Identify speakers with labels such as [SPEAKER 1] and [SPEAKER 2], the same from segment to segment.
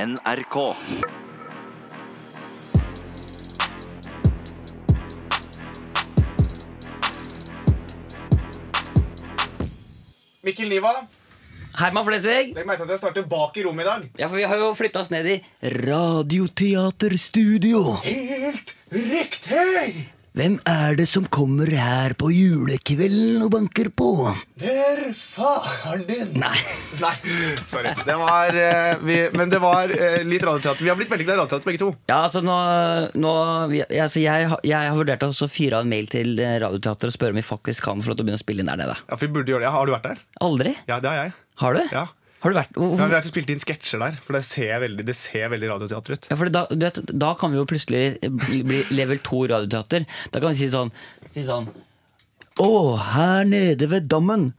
[SPEAKER 1] NRK.
[SPEAKER 2] Mikkel Niva,
[SPEAKER 3] Herman Flesvig.
[SPEAKER 2] legg merke til at jeg står tilbake i rommet i dag.
[SPEAKER 3] Ja, for vi har jo flytta oss ned i
[SPEAKER 4] Radioteaterstudio.
[SPEAKER 2] Helt riktig!
[SPEAKER 4] Hvem er det som kommer her på julekvelden og banker på?
[SPEAKER 2] Det er faren din.
[SPEAKER 3] Nei.
[SPEAKER 2] Nei, sorry. Det var, eh, vi, men det var eh, litt radioteater. Vi har blitt veldig glad i radioteater, begge to.
[SPEAKER 3] Ja, altså nå, nå vi- altså jeg, har- jeg har vurdert å også fyre av en mail til eh, Radioteatret og spørre om vi faktisk kan få lov til å begynne å spille inn der nede.
[SPEAKER 2] Ja, for vi burde gjøre det. Ja, Har du vært der?
[SPEAKER 3] Aldri?
[SPEAKER 2] Ja, det har jeg.
[SPEAKER 3] Har du?
[SPEAKER 2] Ja.
[SPEAKER 3] Har du vært
[SPEAKER 2] Ja, vi
[SPEAKER 3] hvorfor-
[SPEAKER 2] har ikke spilt inn sketsjer der, for det ser veldig, det ser veldig radioteater ut.
[SPEAKER 3] Ja, fordi da, du vet, da kan vi jo plutselig bli bli level 2 radioteater. Da kan vi si sånn, si sånn
[SPEAKER 4] Å, her nede ved dammen.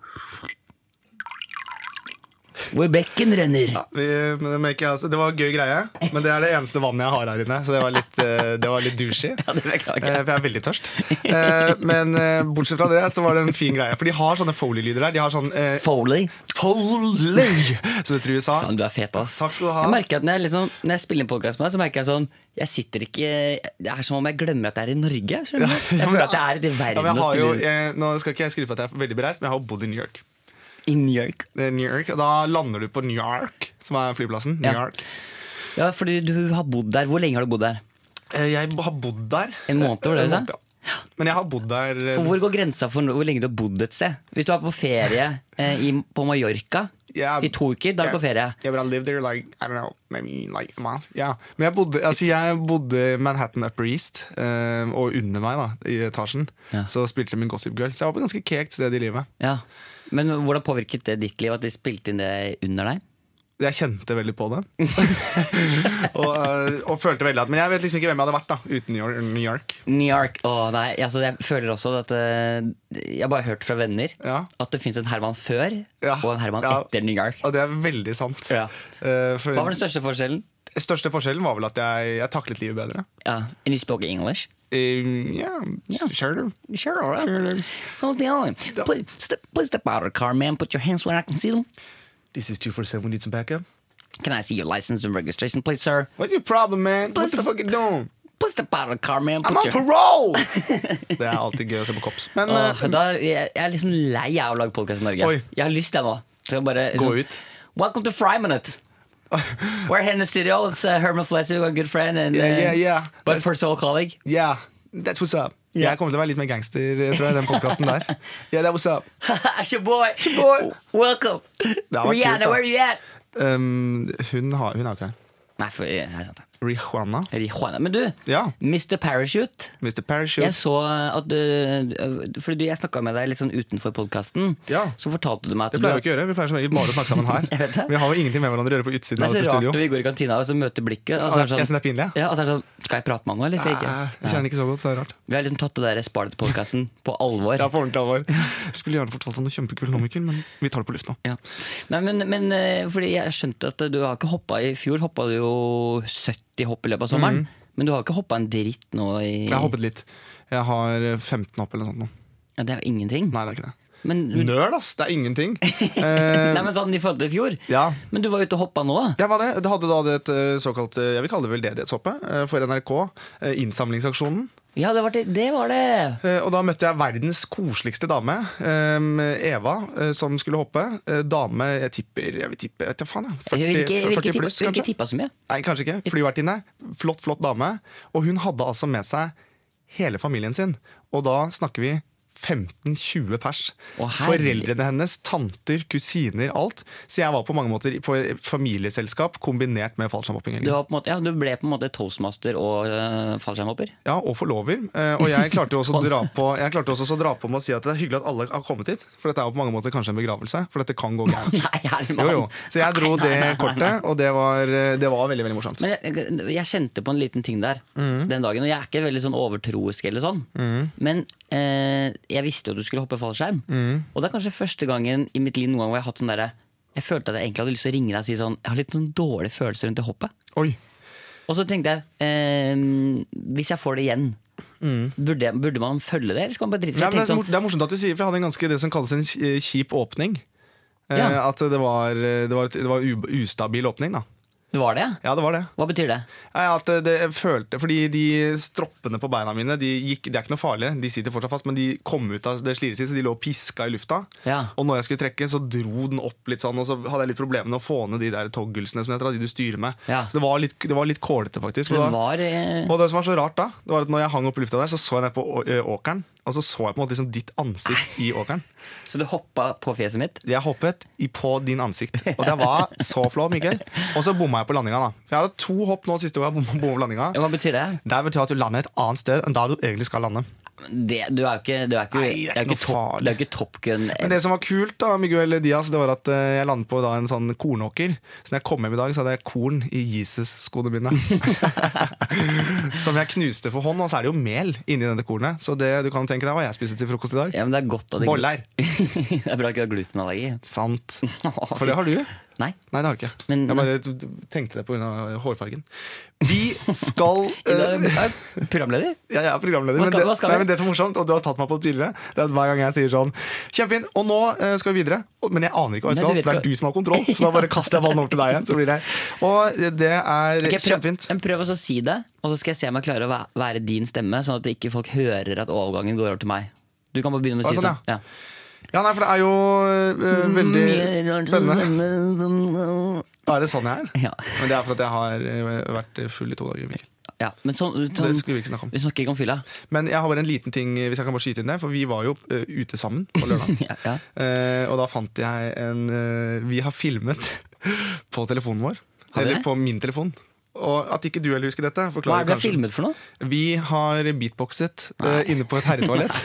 [SPEAKER 3] Hvor bekken renner.
[SPEAKER 2] Vi, men det, må ikke, altså, det var en gøy greie, men det er det eneste vannet jeg har her inne. Så det var litt, eh, det var litt douchey.
[SPEAKER 3] Ja, det beklager
[SPEAKER 2] Eh,
[SPEAKER 3] jeg.
[SPEAKER 2] For jeg er veldig tørst. Eh, Men eh, bortsett fra det, så var det en fin greie. For de har sånne Foley-lyder der. De har sånn eh,
[SPEAKER 3] Foley.
[SPEAKER 2] Foley, som det heter i USA.
[SPEAKER 3] Faen, du er fet, ass.
[SPEAKER 2] Takk skal du ha.
[SPEAKER 3] Jeg merker at Når jeg, liksom, når jeg spiller en podkast med deg, så merker jeg sånn Jeg sitter ikke Det er som om jeg glemmer at det er i Norge. skjønner du? Jeg føler at det er ute i
[SPEAKER 2] Ja, men
[SPEAKER 3] verden
[SPEAKER 2] jeg
[SPEAKER 3] å
[SPEAKER 2] har jo,
[SPEAKER 3] spille
[SPEAKER 2] eh, nå skal ikke jeg skrive at jeg er veldig bereist, men jeg har bodd i New York.
[SPEAKER 3] i New York.
[SPEAKER 2] Eh, New York og da lander du på New York, som er flyplassen. New
[SPEAKER 3] Ja.
[SPEAKER 2] York.
[SPEAKER 3] Ja, fordi du har bodd der. Hvor lenge har du bodd der?
[SPEAKER 2] Eh, Jeg har bodd der.
[SPEAKER 3] En måned,
[SPEAKER 2] Eh,
[SPEAKER 3] var det
[SPEAKER 2] en
[SPEAKER 3] du sa?
[SPEAKER 2] måned, ja. Men jeg har bodd der eh,
[SPEAKER 3] For hvor går grensa for hvor lenge du har bodd et sted? Hvis du er på ferie eh, i, på Mallorca
[SPEAKER 2] Ja.
[SPEAKER 3] i to uker, da er du på ferie.
[SPEAKER 2] Yeah, but I lived there like, I don't know, maybe like a month. Yeah. Men jeg bodde, altså, jeg bodde i Manhattan Upper East, eh, og under meg da, i etasjen,
[SPEAKER 3] Ja.
[SPEAKER 2] så spilte de min Gossip Girl. Så jeg var på et ganske kekt sted i livet.
[SPEAKER 3] Ja. Men hvordan påvirket det ditt liv at de spilte inn det under deg?
[SPEAKER 2] Jeg kjente veldig på det. og, eh, og følte veldig at, men jeg vet liksom ikke hvem jeg hadde vært da, uten New York. New York.
[SPEAKER 3] New York Åh, nei, altså Jeg føler også at eh, Jeg har bare hørt fra venner
[SPEAKER 2] Ja.
[SPEAKER 3] at det fins en Herman før
[SPEAKER 2] Ja.
[SPEAKER 3] og en Herman
[SPEAKER 2] Ja.
[SPEAKER 3] etter New York.
[SPEAKER 2] Og det er veldig sant.
[SPEAKER 3] Ja.
[SPEAKER 2] Eh, for
[SPEAKER 3] Hva var den største forskjellen?
[SPEAKER 2] Største forskjellen var vel at jeg, jeg taklet livet bedre.
[SPEAKER 3] Ja, And you spoke English?
[SPEAKER 2] Um, yeah, sure.
[SPEAKER 3] Sure, all right.
[SPEAKER 2] Sure.
[SPEAKER 3] Something else. Please, step, please step out of the car, man. Put your hands where I can see them.
[SPEAKER 2] This is 247, we need some backup.
[SPEAKER 3] Can I see your license and registration, please, sir?
[SPEAKER 2] What's your problem, man? What
[SPEAKER 3] Please
[SPEAKER 2] the fuck you doing?
[SPEAKER 3] Please step out of the car, man. Put
[SPEAKER 2] I'm on
[SPEAKER 3] your...
[SPEAKER 2] parole! det er alltid gøy å se på kops. Men
[SPEAKER 3] Åh,
[SPEAKER 2] eh,
[SPEAKER 3] da, jeg, jeg er liksom lei av å lage podkast i Norge.
[SPEAKER 2] Oi.
[SPEAKER 3] Jeg har lyst, jeg nå. Så jeg bare,
[SPEAKER 2] Gå
[SPEAKER 3] sånn,
[SPEAKER 2] ut.
[SPEAKER 3] Welcome to Fry Minute. We're here in the studio. It's uh, Herman Flesvig, a good friend. And,
[SPEAKER 2] Yeah,
[SPEAKER 3] uh,
[SPEAKER 2] yeah, yeah.
[SPEAKER 3] But first of all, colleague.
[SPEAKER 2] yeah, that's what's up.
[SPEAKER 3] Yeah.
[SPEAKER 2] Jeg kommer til å være litt mer gangster eh, tror jeg, i den podkasten der. Yeah, that was up.
[SPEAKER 3] It's your boy.
[SPEAKER 2] boy.
[SPEAKER 3] Welcome.
[SPEAKER 2] var kult,
[SPEAKER 3] Rihanna,
[SPEAKER 2] da.
[SPEAKER 3] where are you at?
[SPEAKER 2] Um, hun, har, hun er jo ikke her.
[SPEAKER 3] Nei, for, det er sant. det.
[SPEAKER 2] Rihanna.
[SPEAKER 3] Rihanna. Men du,
[SPEAKER 2] Ja.
[SPEAKER 3] Mr. Parachute.
[SPEAKER 2] Mr. Parachute.
[SPEAKER 3] Jeg så at du Fordi du, jeg snakka med deg litt sånn utenfor podkasten.
[SPEAKER 2] Ja.
[SPEAKER 3] Så fortalte du meg at
[SPEAKER 2] Det pleier vi ikke å gjøre. Vi pleier som regel bare å snakke sammen her.
[SPEAKER 3] Jeg vet det.
[SPEAKER 2] Vi har jo ingenting med hverandre å gjøre på utsiden
[SPEAKER 3] Det
[SPEAKER 2] av
[SPEAKER 3] er
[SPEAKER 2] dette
[SPEAKER 3] så
[SPEAKER 2] studio.
[SPEAKER 3] rart når vi går i kantina og så møter blikket.
[SPEAKER 2] Ja,
[SPEAKER 3] Og så er det sånn,
[SPEAKER 2] jeg synes det er pinlig, jeg.
[SPEAKER 3] Ja, og så er det sånn, Skal jeg prate med han nå, eller? Sier jeg
[SPEAKER 2] Eh,
[SPEAKER 3] ikke.
[SPEAKER 2] Jeg kjenner ikke så godt, så det er rart.
[SPEAKER 3] Vi har liksom tatt det der Spart-podkasten på alvor.
[SPEAKER 2] Ja, på ordentlig alvor. Jeg skulle gjerne fortalt om noe kjempekult nå, Mikkel, men vi tar det på luft nå.
[SPEAKER 3] Ja. Nei, men, men eh, fordi jeg skjønte at du har ikke hoppa i fjor. Hoppa du jo 70 hopp i løpet av sommeren. Men du har ikke hoppa en dritt nå i
[SPEAKER 2] Mm. Jeg har hoppet litt. Jeg har 15 hopp eller noe sånt nå.
[SPEAKER 3] Ja, det er jo ingenting.
[SPEAKER 2] Nei, Mm. det er ikke det.
[SPEAKER 3] Men,
[SPEAKER 2] Nerd, ass! Det er ingenting. Eh,
[SPEAKER 3] nei, men sånn i forhold til i fjor.
[SPEAKER 2] ja.
[SPEAKER 3] Men du var ute og hoppa nå. da.
[SPEAKER 2] Jeg var det. Det hadde da det et eh, såkalt eh, jeg vil kalle det veldedighetshoppet eh, for NRK. eh, Innsamlingsaksjonen.
[SPEAKER 3] Ja, det var det. det, var det.
[SPEAKER 2] Eh, Og da møtte jeg verdens koseligste dame, eh, Eva, eh, som skulle hoppe. Eh, Dame jeg tipper jeg vil tippe, vet jeg faen, jeg,
[SPEAKER 3] Jeg vil
[SPEAKER 2] 40,
[SPEAKER 3] ikke, jeg
[SPEAKER 2] 40
[SPEAKER 3] vil ikke,
[SPEAKER 2] pluss,
[SPEAKER 3] tippe- jeg vil ikke
[SPEAKER 2] kanskje?
[SPEAKER 3] tippa så mye.
[SPEAKER 2] Nei, kanskje ikke. Flyvertinne. Flott, flott dame. Og hun hadde altså med seg hele familien sin. Og da snakker vi 15-20 pers.
[SPEAKER 3] Å, herlig.
[SPEAKER 2] Foreldrene hennes, tanter, kusiner, alt. Så jeg var på mange måter på et familieselskap kombinert med fallskjermhopping.
[SPEAKER 3] Du, var på en måte, ja, du ble på en måte toastmaster og øh, fallskjermhopper.
[SPEAKER 2] Ja, og forlover. Eh, Og jeg klarte jo også å dra på Jeg klarte også å dra på med å si at det er hyggelig at alle har kommet hit. For dette er jo på mange måter kanskje en begravelse. For dette kan gå gærent.
[SPEAKER 3] Nei, Herman!
[SPEAKER 2] Jo, jo. Så jeg dro det kortet, og det var, eh, det var veldig veldig morsomt.
[SPEAKER 3] Men jeg, jeg kjente på en liten ting der
[SPEAKER 2] Mm.
[SPEAKER 3] den dagen. Og jeg er ikke veldig sånn overtroisk, eller sånn men eh, jeg visste jo at du skulle hoppe fallskjerm.
[SPEAKER 2] Mm.
[SPEAKER 3] Og det er kanskje første gangen i mitt liv noen gang hvor jeg har hatt sånn derre jeg følte at jeg egentlig hadde lyst til å ringe deg og si sånn Jeg har litt sånn dårlig følelse rundt det hoppet.
[SPEAKER 2] Oi.
[SPEAKER 3] Og så tenkte jeg eh, hvis jeg får det igjen, burde, jeg- burde man følge det, eller skal man bare drite i
[SPEAKER 2] Nei,
[SPEAKER 3] det?
[SPEAKER 2] Mm. men det,
[SPEAKER 3] Jeg
[SPEAKER 2] er
[SPEAKER 3] tenkte
[SPEAKER 2] mor-
[SPEAKER 3] sånn,
[SPEAKER 2] det er morsomt at du sier, for jeg hadde en ganske det som kalles en ki- eh, kjip åpning. Eh,
[SPEAKER 3] Ja.
[SPEAKER 2] At det var, det var, et, det var en ub- ustabil åpning, da.
[SPEAKER 3] Det var det? ja?
[SPEAKER 2] Ja, det var det.
[SPEAKER 3] Hva betyr det?
[SPEAKER 2] Ja, at eh, det, jeg følte, fordi de stroppene på beina mine de, gikk, de er ikke noe farlige, de sitter fortsatt fast, men de kom ut av det sliret sitt, så de lå og piska i lufta.
[SPEAKER 3] Ja.
[SPEAKER 2] Og når jeg skulle trekke, så dro den opp litt sånn, og så hadde jeg litt problemer med å få ned de der toggelsene som heter, da, de du styrer med.
[SPEAKER 3] Ja.
[SPEAKER 2] Så det var litt, det var litt kålete, faktisk.
[SPEAKER 3] Det
[SPEAKER 2] Og da-
[SPEAKER 3] var eh,
[SPEAKER 2] og det som var så rart da, det var at når jeg hang opp i lufta der, så så jeg ned på å- ø, åkeren, og så så jeg på en måte liksom ditt ansikt i åkeren.
[SPEAKER 3] Så du hoppa på fjeset mitt?
[SPEAKER 2] Jeg hoppet i- på din ansikt, og det var så flå, Mikkel. Og så bomma jeg på landinga, da. For jeg hadde to hopp nå siste gang jeg bomma bomma på landinga.
[SPEAKER 3] Ja, Hva betyr det?
[SPEAKER 2] Det betyr at du lander et annet sted enn der du egentlig skal lande.
[SPEAKER 3] det du er jo ikke, du er ikke,
[SPEAKER 2] Nei, det er
[SPEAKER 3] det er
[SPEAKER 2] ikke
[SPEAKER 3] ikke,
[SPEAKER 2] noe
[SPEAKER 3] topp- det er ikke Top Gun.
[SPEAKER 2] Men det som var kult, da, Miguel Diaz, det var at eh, jeg landet på da, en sånn kornåker. Så når jeg kom hjem i dag, så hadde jeg korn i Jesus-skoene mine. som jeg knuste for hånd, og så er det jo mel inni dette kornet. Så det du kan tenke deg hva jeg spiste til frokost i dag.
[SPEAKER 3] Ja, men det er godt at det
[SPEAKER 2] Boller.
[SPEAKER 3] det er bra ikke du har glutenallergi.
[SPEAKER 2] Sant. For det har du.
[SPEAKER 3] Nei.
[SPEAKER 2] Nei, det har jeg ikke.
[SPEAKER 3] Men-
[SPEAKER 2] jeg bare t- t- tenkte det pga. hårfargen. Vi skal
[SPEAKER 3] I dag
[SPEAKER 2] eh,
[SPEAKER 3] er jeg programleder.
[SPEAKER 2] Ja, jeg er programleder,
[SPEAKER 3] Hva
[SPEAKER 2] men
[SPEAKER 3] skal-
[SPEAKER 2] det,
[SPEAKER 3] hva skal
[SPEAKER 2] nei,
[SPEAKER 3] vi?
[SPEAKER 2] men det som er morsomt, og du har tatt meg på det tidligere, det er at hver gang jeg sier sånn Kjempefint, og nå eh, skal vi videre. Og- Men jeg aner ikke hva jeg
[SPEAKER 3] Nei,
[SPEAKER 2] skal.
[SPEAKER 3] du vet
[SPEAKER 2] det
[SPEAKER 3] hva-
[SPEAKER 2] er du som har kontroll, så da bare kaster jeg ballen over til deg igjen. Så blir det Og det er
[SPEAKER 3] Ok, prøv,
[SPEAKER 2] kjempefint.
[SPEAKER 3] men prøv også å si det, og så skal jeg se om jeg klarer å væ- være din stemme, sånn at ikke folk hører at overgangen går over til meg. Du kan bare begynne med å
[SPEAKER 2] Ah,
[SPEAKER 3] si
[SPEAKER 2] sånn,
[SPEAKER 3] sånn. Ja.
[SPEAKER 2] Ja, nei, for det er jo
[SPEAKER 3] Mm,
[SPEAKER 2] eh, veldig spennende. Da er det sånn jeg er.
[SPEAKER 3] Ja.
[SPEAKER 2] Men det er for at jeg har eh, vært full i to dager. Mikkel.
[SPEAKER 3] Ja, men sånn, sånn,
[SPEAKER 2] Det skulle vi ikke snakke om.
[SPEAKER 3] vi snakker ikke om fylla.
[SPEAKER 2] Men jeg har bare en liten ting, eh, hvis jeg kan bare skyte inn det. For vi var jo eh, ute sammen på lørdag.
[SPEAKER 3] Ja, ja.
[SPEAKER 2] Eh, og da fant jeg en eh, Vi har filmet på telefonen vår.
[SPEAKER 3] Har vi
[SPEAKER 2] eller
[SPEAKER 3] det?
[SPEAKER 2] på min telefon. Og at ikke du heller husker dette,
[SPEAKER 3] Hva
[SPEAKER 2] forklarer
[SPEAKER 3] er det vi har
[SPEAKER 2] kanskje.
[SPEAKER 3] filmet for noe?
[SPEAKER 2] Vi har beatboxet eh, inne på et herretoalett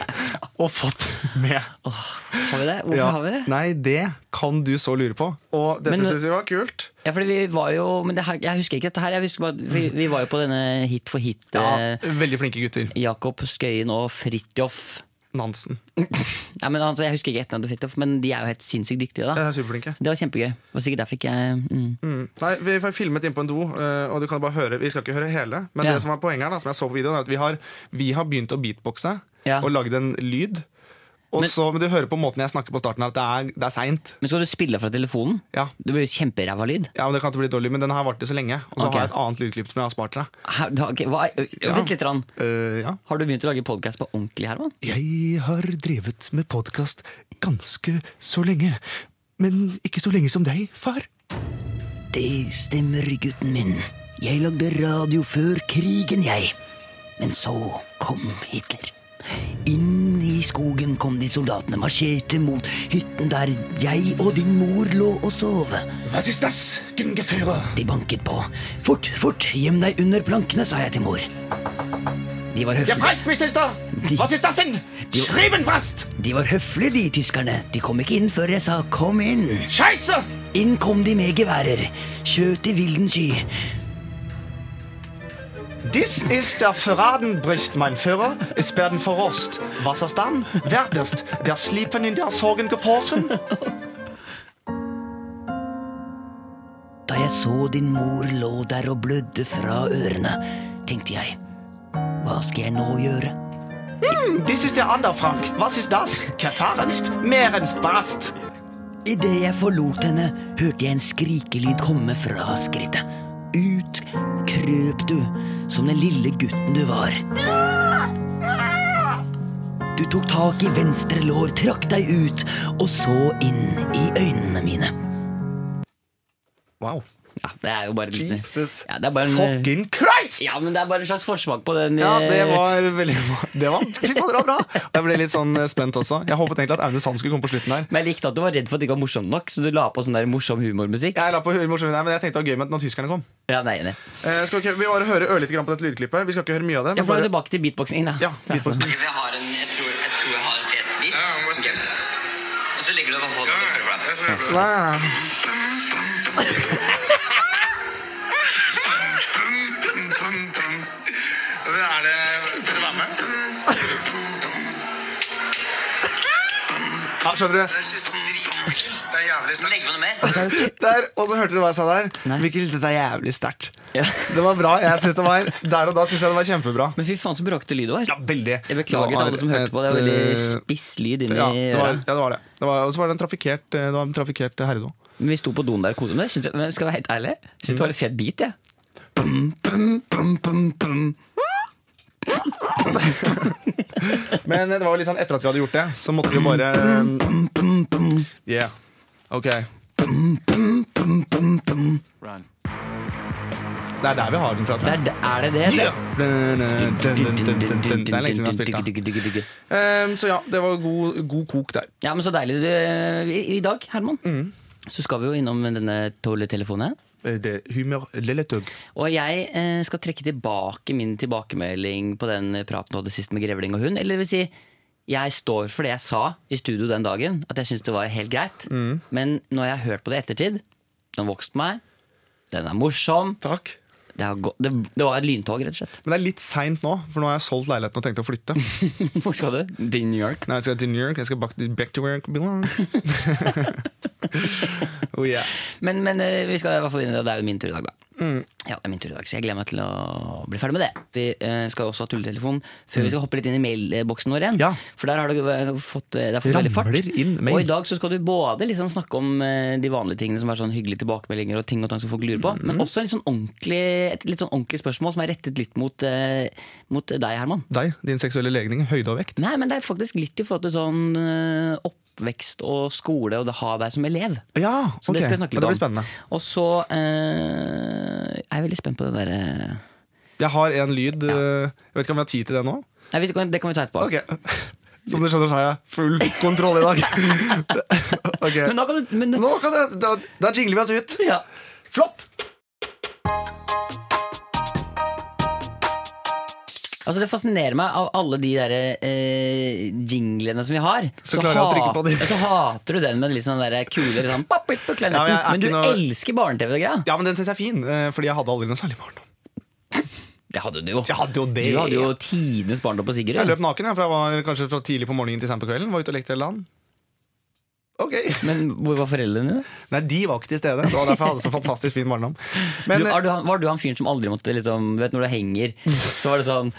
[SPEAKER 2] og fått med.
[SPEAKER 3] Har vi det? Hvorfor
[SPEAKER 2] Ja.
[SPEAKER 3] har vi det?
[SPEAKER 2] Nei, det kan du så lure på. Og dette
[SPEAKER 3] Men-
[SPEAKER 2] syns vi var kult.
[SPEAKER 3] Ja, fordi vi var jo, men det her, Jeg husker ikke dette her. Jeg husker bare, at vi, vi var jo på denne Hit for hit.
[SPEAKER 2] Ja,
[SPEAKER 3] eh,
[SPEAKER 2] veldig flinke gutter.
[SPEAKER 3] Jakob Skøyen og Fridtjof.
[SPEAKER 2] Nansen.
[SPEAKER 3] Nei, men altså, jeg husker ikke etternavnet til Fridtjof, men de er jo helt sinnssykt dyktige.
[SPEAKER 2] De
[SPEAKER 3] da
[SPEAKER 2] er Eh, superflinke.
[SPEAKER 3] Det var kjempegøy. Det var sikkert derfor ikke jeg mm.
[SPEAKER 2] Mm. Nei, Vi har filmet inn på en do, eh, og du kan bare høre, vi skal ikke høre hele. Men
[SPEAKER 3] Ja.
[SPEAKER 2] det som er poenget her, da, som jeg så på videoen, er at vi har, vi har begynt å beatboxe
[SPEAKER 3] Ja.
[SPEAKER 2] og lagd en lyd. Og
[SPEAKER 3] Men-
[SPEAKER 2] så, men du hører på måten jeg snakker på starten her, at det er, det er seint.
[SPEAKER 3] Men skal du spille fra telefonen?
[SPEAKER 2] Ja.
[SPEAKER 3] Det blir jo kjemperæva lyd.
[SPEAKER 2] ja, men det kan ikke bli dårlig, men den har vart i så lenge. Og så
[SPEAKER 3] Ok.
[SPEAKER 2] har jeg et annet lydklipp som jeg har spart til deg.
[SPEAKER 3] Her, da, ok, hva, ø, ø, Vent litt. Rann.
[SPEAKER 2] Eh, ja.
[SPEAKER 3] Har du begynt å lage podkast på ordentlig, Herman?
[SPEAKER 4] Jeg har drevet med podkast ganske så lenge. Men ikke så lenge som deg, far. Det stemmer, gutten min. Jeg lagde radio før krigen, jeg. Men så kom Hitler. Inn i skogen kom de soldatene, marsjerte mot hytten der jeg og din mor lå og sov.
[SPEAKER 2] Was ist das, Gungeführer?
[SPEAKER 4] De banket på. Fort, fort, gjem deg under plankene, sa jeg til mor. De var høflige.
[SPEAKER 2] Preisminister! Was ist das denn? Schreiben fast!
[SPEAKER 4] De var høflige, de tyskerne. De kom ikke inn før jeg sa 'kom inn'.
[SPEAKER 2] Scheisse!
[SPEAKER 4] Inn kom de med geværer. Skjøt i vilden sky.
[SPEAKER 2] This ist der Verradenbricht, mein Führer. Es werden verrost. Was ist dann? Wertest der Sleepen in der Sorgen geporsen?
[SPEAKER 4] Da jeg så din mor lå der og blødde fra ørene, tenkte jeg Hva skal jeg nå gjøre?
[SPEAKER 2] This ist der Anderfrank. Was ist das? Kefarenst, Meerenst, Brast.
[SPEAKER 4] Idet jeg forlot henne, hørte jeg en skrikelyd komme fra skrittet. Ut krøp du, som den lille gutten du var. Du tok tak i venstre lår, trakk deg ut og så inn i øynene mine.
[SPEAKER 2] Wow.
[SPEAKER 3] Ja, det er jo bare litt-
[SPEAKER 2] Jesus
[SPEAKER 3] ja, det er bare en, eh,
[SPEAKER 2] fucking Christ!
[SPEAKER 3] ja, men det er bare en slags forsmak på den.
[SPEAKER 2] Ja,
[SPEAKER 3] eh,
[SPEAKER 2] det var veldig Det var, Fy fader, det var bra! Og Jeg ble litt sånn eh, spent også. Jeg håpet egentlig at Aune Sand skulle komme på slutten her.
[SPEAKER 3] Men jeg likte at du var redd for at det ikke var morsomt nok, så du la på sånn der morsom humormusikk.
[SPEAKER 2] Jeg la på morsomt, nei, men jeg tenkte det var gøy med at når tyskerne kom.
[SPEAKER 3] Ja, nei, nei.
[SPEAKER 2] Eh, skal vi, ikke- vi bare høre ørlite grann på dette lydklippet. Vi skal ikke høre mye av det.
[SPEAKER 3] Jeg
[SPEAKER 2] men
[SPEAKER 3] får
[SPEAKER 2] bare-
[SPEAKER 3] tilbake til beatboxing. Da.
[SPEAKER 2] Ja, beatboxing.
[SPEAKER 3] Jeg har en, jeg tror jeg, tror jeg har en CD-bit,
[SPEAKER 1] Ja, man må skrive.
[SPEAKER 3] og så ligger du over
[SPEAKER 1] Ja,
[SPEAKER 3] hodet.
[SPEAKER 1] ja, ja. Det tror jeg er bra.
[SPEAKER 2] Nei.
[SPEAKER 1] Pum, pum, pum. Er det Vil du være med?
[SPEAKER 2] Ja, skjønner du?
[SPEAKER 1] Jeg synes det er dritkult. Det er jævlig sterkt.
[SPEAKER 3] Legger man noe mer?
[SPEAKER 2] Der, og så hørte du hva jeg sa der.
[SPEAKER 3] Nei.
[SPEAKER 2] Mikkel, dette er jævlig sterkt.
[SPEAKER 3] Ja.
[SPEAKER 2] Det var bra. jeg synes det var Der og da syns jeg det var kjempebra.
[SPEAKER 3] Men fy faen så bråkete lyd det var.
[SPEAKER 2] Ja, veldig.
[SPEAKER 3] Jeg
[SPEAKER 2] Det
[SPEAKER 3] beklager til
[SPEAKER 2] var
[SPEAKER 3] alle som hørte på. Det
[SPEAKER 2] et,
[SPEAKER 3] er veldig
[SPEAKER 2] eh,
[SPEAKER 3] spiss lyd inni
[SPEAKER 2] ja, det var,
[SPEAKER 3] øra.
[SPEAKER 2] ja, det var det. det var, og så var det en trafikkert, eh, det var en trafikkert herredo.
[SPEAKER 3] Men vi sto på doen der og koste oss. Synes jeg- men Skal jeg være helt ærlig? Syns det var litt fet beat, jeg. Bum, bum, bum, bum, bum.
[SPEAKER 2] Men det var jo litt sånn etter at vi hadde gjort det, så måtte vi bare Yeah. Ok. Det er der vi har den fra, tror
[SPEAKER 3] Der,
[SPEAKER 2] jeg.
[SPEAKER 3] der er det det?
[SPEAKER 2] Yeah! Det er lenge siden vi har spilt den.
[SPEAKER 3] den.
[SPEAKER 2] Ehm, Så ja, det var god, god kok der.
[SPEAKER 3] Ja, men så deilig. Du, eh, i, I dag, Herman,
[SPEAKER 2] Mm.
[SPEAKER 3] så skal vi jo innom denne tolletelefonen.
[SPEAKER 2] Eh, Det humør lilletugg.
[SPEAKER 3] Og jeg eh, skal trekke tilbake min tilbakemelding på den praten du hadde sist med grevling og hund. Eller det vil si, jeg står for det jeg sa i studio den dagen, at jeg syns det var helt greit. Men når jeg har hørt på det i ettertid, den vokste meg, den er morsom.
[SPEAKER 2] Takk.
[SPEAKER 3] Det, har gått, det, det var et lyntog, rett og slett.
[SPEAKER 2] Men det er litt seint nå, for nå har jeg solgt leiligheten og tenkt å flytte. Nei,
[SPEAKER 3] Hvor skal du? Til New York.
[SPEAKER 2] Jeg skal til New York, jeg skal back, back to where I belong. oh yeah.
[SPEAKER 3] Men, men eh, vi skal i hvert fall inn i det, og det er jo min tur i dag, da.
[SPEAKER 2] Mm.
[SPEAKER 3] Ja, det er min tur i dag, Så jeg gleder meg til å bli ferdig med det. Vi eh, skal også ha tulletelefon før vi skal hoppe litt inn i mailboksen vår igjen.
[SPEAKER 2] Mm. Ja.
[SPEAKER 3] For der har det eh, fått, det har fått veldig fart.
[SPEAKER 2] Ramler inn mail.
[SPEAKER 3] Og i dag så skal du både liksom snakke om eh, de vanlige tingene som er sånn hyggelige tilbakemeldinger og ting og tang som folk lurer på,
[SPEAKER 2] Mm.
[SPEAKER 3] men også en litt sånn ordentlig, et litt sånn ordentlig spørsmål som er rettet litt mot, eh, mot deg, Herman.
[SPEAKER 2] Deg, din seksuelle legning, høyde og vekt.
[SPEAKER 3] Nei, men det er faktisk litt i forhold til sånn eh, oppvekst og skole og det å ha deg som elev.
[SPEAKER 2] Ja,
[SPEAKER 3] Så det
[SPEAKER 2] ok.
[SPEAKER 3] skal vi snakke
[SPEAKER 2] Men
[SPEAKER 3] litt
[SPEAKER 2] det
[SPEAKER 3] om.
[SPEAKER 2] blir spennende.
[SPEAKER 3] Og så eh, er jeg veldig spent på den derre
[SPEAKER 2] Jeg har en lyd eh, Jeg vet ikke om vi har tid til det nå.
[SPEAKER 3] Nei, vet du hva, Det kan vi ta etterpå.
[SPEAKER 2] Ok Som du skjønner, så har jeg full kontroll i dag. Ok
[SPEAKER 3] Men nå kan du men,
[SPEAKER 2] Nå kan jeg, da, da jingler vi oss ut.
[SPEAKER 3] ja.
[SPEAKER 2] Flott!
[SPEAKER 3] Altså Det fascinerer meg av alle de der, eh, jinglene som vi har.
[SPEAKER 2] Så klarer jeg å trykke på
[SPEAKER 3] hat-
[SPEAKER 2] dem.
[SPEAKER 3] ja, Så hater du den med litt sånn der kule litt sånn, pap, pip, og klein,
[SPEAKER 2] Ja, men jeg er
[SPEAKER 3] Men du
[SPEAKER 2] ikke noe-
[SPEAKER 3] elsker barne-TV og greia.
[SPEAKER 2] Ja, men den syns jeg er fin, eh, fordi jeg hadde aldri noe særlig barndom.
[SPEAKER 3] Det hadde du jo.
[SPEAKER 2] Jeg hadde jo det.
[SPEAKER 3] Du hadde jo tidenes barndom på Sigurd.
[SPEAKER 2] Jeg løp naken, jeg, for jeg var kanskje fra tidlig på morgenen til sent på kvelden. Var ute og lekte hele dagen. Ok
[SPEAKER 3] Men hvor var foreldrene dine?
[SPEAKER 2] Nei, de var ikke til stede. Det var derfor jeg hadde så fantastisk fin barndom. Men
[SPEAKER 3] du,
[SPEAKER 2] eh,
[SPEAKER 3] er du, han- var du han fyren som aldri måtte liksom, du vet, Når du henger, så var det sånn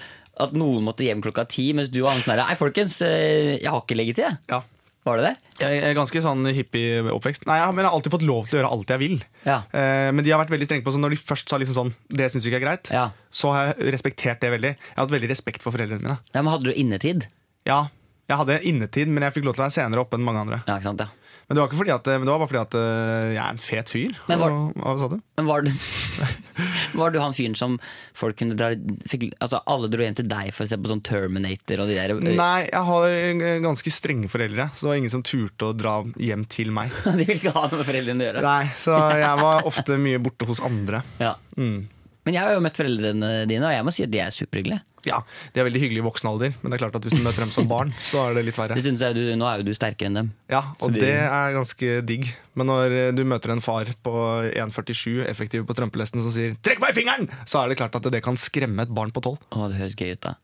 [SPEAKER 3] at noen måtte hjem klokka ti, mens du og han sånn her Nei, folkens, eh, jeg har ikke leggetid, jeg.
[SPEAKER 2] ja.
[SPEAKER 3] Var det det?
[SPEAKER 2] Jeg er ganske sånn hippie oppvekst. Nei, jeg, har- men jeg har alltid fått lov til å gjøre alt jeg vil.
[SPEAKER 3] Ja.
[SPEAKER 2] Eh, men de har vært veldig strenge på sånn, når de først sa liksom sånn Det syns vi ikke er greit.
[SPEAKER 3] Ja.
[SPEAKER 2] Så har jeg respektert det veldig. Jeg har hatt veldig respekt for foreldrene mine.
[SPEAKER 3] ja men hadde du innetid?
[SPEAKER 2] Ja, jeg hadde innetid, men jeg fikk lov til å være senere oppe enn mange andre.
[SPEAKER 3] Ja, ikke sant, ja.
[SPEAKER 2] Men det var, ikke fordi at, men det var bare fordi at eh, jeg er en fet fyr.
[SPEAKER 3] Men var-
[SPEAKER 2] og, hva sa du?
[SPEAKER 3] Men var du, var du han fyren som folk kunne dra fikk, Altså Alle dro hjem til deg for å se på sånn Terminator og de der.
[SPEAKER 2] Nei, jeg har eh, ganske strenge foreldre, så det var ingen som turte å dra hjem til meg.
[SPEAKER 3] De ville ikke ha noe med foreldrene å gjøre.
[SPEAKER 2] Nei, Så jeg var ofte mye borte hos andre.
[SPEAKER 3] Ja.
[SPEAKER 2] Mm.
[SPEAKER 3] Men jeg har jo møtt foreldrene dine, og jeg må si at de er superhyggelige.
[SPEAKER 2] Ja, De er veldig hyggelige i voksen alder, men det er klart at hvis du møter dem som barn, så er det litt verre.
[SPEAKER 3] Det synes jeg, du, nå er jo du sterkere enn dem.
[SPEAKER 2] Ja,
[SPEAKER 3] Så
[SPEAKER 2] Og
[SPEAKER 3] de-
[SPEAKER 2] det er ganske digg. Men når eh, du møter en far på 1,47 effektiv på strømpelesten som sier 'trekk meg i fingeren', så er det klart at det kan skremme et barn på tolv.
[SPEAKER 3] Å, det høres gøy ut, da.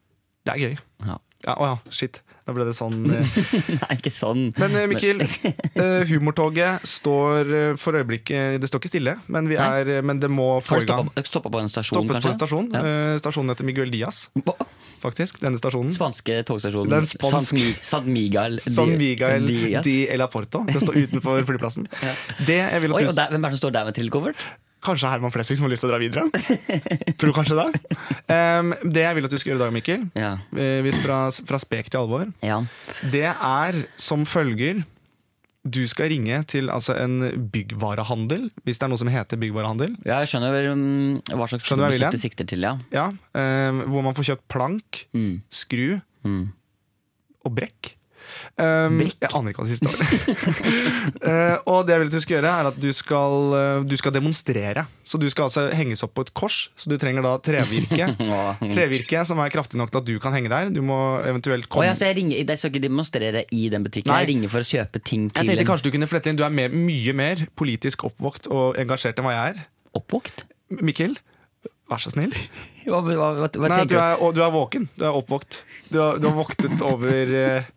[SPEAKER 2] Det er gøy.
[SPEAKER 3] Ja.
[SPEAKER 2] Ja, å ja, shit. Da ble det sånn. eh.
[SPEAKER 3] Nei, ikke sånn.
[SPEAKER 2] Men eh, Mikkel, eh, humortoget står eh, for øyeblikket Det står ikke stille, men, vi
[SPEAKER 3] Nei.
[SPEAKER 2] er, eh, men det må
[SPEAKER 3] Har
[SPEAKER 2] få
[SPEAKER 3] du
[SPEAKER 2] i gang.
[SPEAKER 3] stoppa- Stoppa på en stasjon,
[SPEAKER 2] Stoppet på
[SPEAKER 3] kanskje?
[SPEAKER 2] en stasjon.
[SPEAKER 3] Ja.
[SPEAKER 2] eh, Stasjonen heter Miguel Diaz,
[SPEAKER 3] På-
[SPEAKER 2] faktisk. Denne stasjonen.
[SPEAKER 3] Spanske togstasjonen.
[SPEAKER 2] Den spansk-
[SPEAKER 3] San, Mi- San Miguel. de-
[SPEAKER 2] San Miguel
[SPEAKER 3] Diaz.
[SPEAKER 2] de El Aporto. Det står utenfor flyplassen. Det jeg vil
[SPEAKER 3] Oi,
[SPEAKER 2] at du,
[SPEAKER 3] og der, Hvem er det som står der med trillekoffert?
[SPEAKER 2] Kanskje Herman Flesvig som har lyst til å dra videre? Tror kanskje det. Em, det jeg vil at du skal gjøre i dag, Mikkel,
[SPEAKER 3] Ja.
[SPEAKER 2] eh, hvis fra, fra spek til alvor,
[SPEAKER 3] ja.
[SPEAKER 2] Det er som følger Du skal ringe til altså, en byggvarehandel Hvis det er noe som heter byggvarehandel
[SPEAKER 3] Ja, Jeg skjønner vel, mm, hva slags
[SPEAKER 2] Skjønner du hva jeg vil hen?
[SPEAKER 3] produkt du sikter til. ja
[SPEAKER 2] ja, eh, Hvor man får kjøpt plank
[SPEAKER 3] Mm.
[SPEAKER 2] Skru Og brekk Um,
[SPEAKER 3] Brekk?
[SPEAKER 2] Jeg aner ikke hva det siste var Eh, Og det jeg vil at du skal gjøre er at du skal, eh, du skal demonstrere Så du skal altså henges opp på et kors Så du trenger da trevirke
[SPEAKER 3] Åh.
[SPEAKER 2] Trevirke som er kraftig nok til at du kan henge der Du må eventuelt
[SPEAKER 3] Å,
[SPEAKER 2] komme
[SPEAKER 3] ja, så jeg, ringer, jeg skal ikke demonstrere i den butikken.
[SPEAKER 2] Nei.
[SPEAKER 3] Jeg ringer for å kjøpe ting
[SPEAKER 2] Jeg
[SPEAKER 3] til
[SPEAKER 2] tenkte
[SPEAKER 3] en
[SPEAKER 2] kanskje du kunne flette inn Du er mer, mye mer politisk oppvåkt og engasjert enn hva jeg er.
[SPEAKER 3] oppvåkt.
[SPEAKER 2] Mikkel, vær så snill.
[SPEAKER 3] Hva, hva, hva, hva
[SPEAKER 2] Nei, du
[SPEAKER 3] tenker du?
[SPEAKER 2] er, og du er våken. Du er oppvåkt. Du har, du har våktet over eh,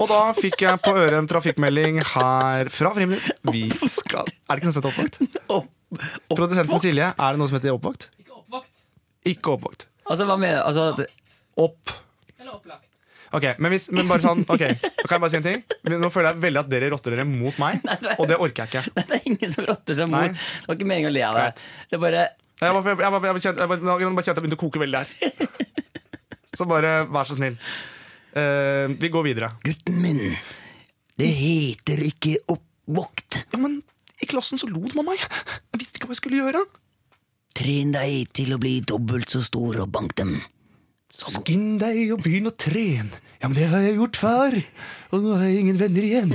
[SPEAKER 2] Og da fikk jeg på øret en trafikkmelding her fra Friminutt. Vi skal Er det ikke noe som heter oppvåkt?
[SPEAKER 3] Opp, opp,
[SPEAKER 2] Produsenten Silje, er det noe som heter oppvåkt? Ikke oppvåkt. Ikke oppvåkt.
[SPEAKER 3] altså, hva mener altså, at-
[SPEAKER 2] Opp. Eller opplagt. Ok, men, hvis, men bare sånn, ok, kan jeg bare si en ting? Nå føler jeg veldig at dere rotter dere mot meg,
[SPEAKER 3] Nei, det-
[SPEAKER 2] og det orker jeg ikke.
[SPEAKER 3] Nei, det er ingen som rotter seg
[SPEAKER 2] Nei.
[SPEAKER 3] mot. Det var ikke meningen å le av deg. Det er bare
[SPEAKER 2] Jeg, bare, jeg, bare, jeg, bare, jeg, bare, jeg, bare, jeg bare kjente jeg begynte å koke veldig her. Så bare vær så snill. Eh, vi går videre.
[SPEAKER 4] Gutten min, det heter ikke oppvåkt.
[SPEAKER 2] Ja, men I klassen så lo de av meg. Jeg visste ikke hva jeg skulle gjøre.
[SPEAKER 4] Tren deg til å bli dobbelt så stor og bank dem. Skinn deg og begynn å trene. Ja, men det har jeg gjort, far. Og nå har jeg ingen venner igjen.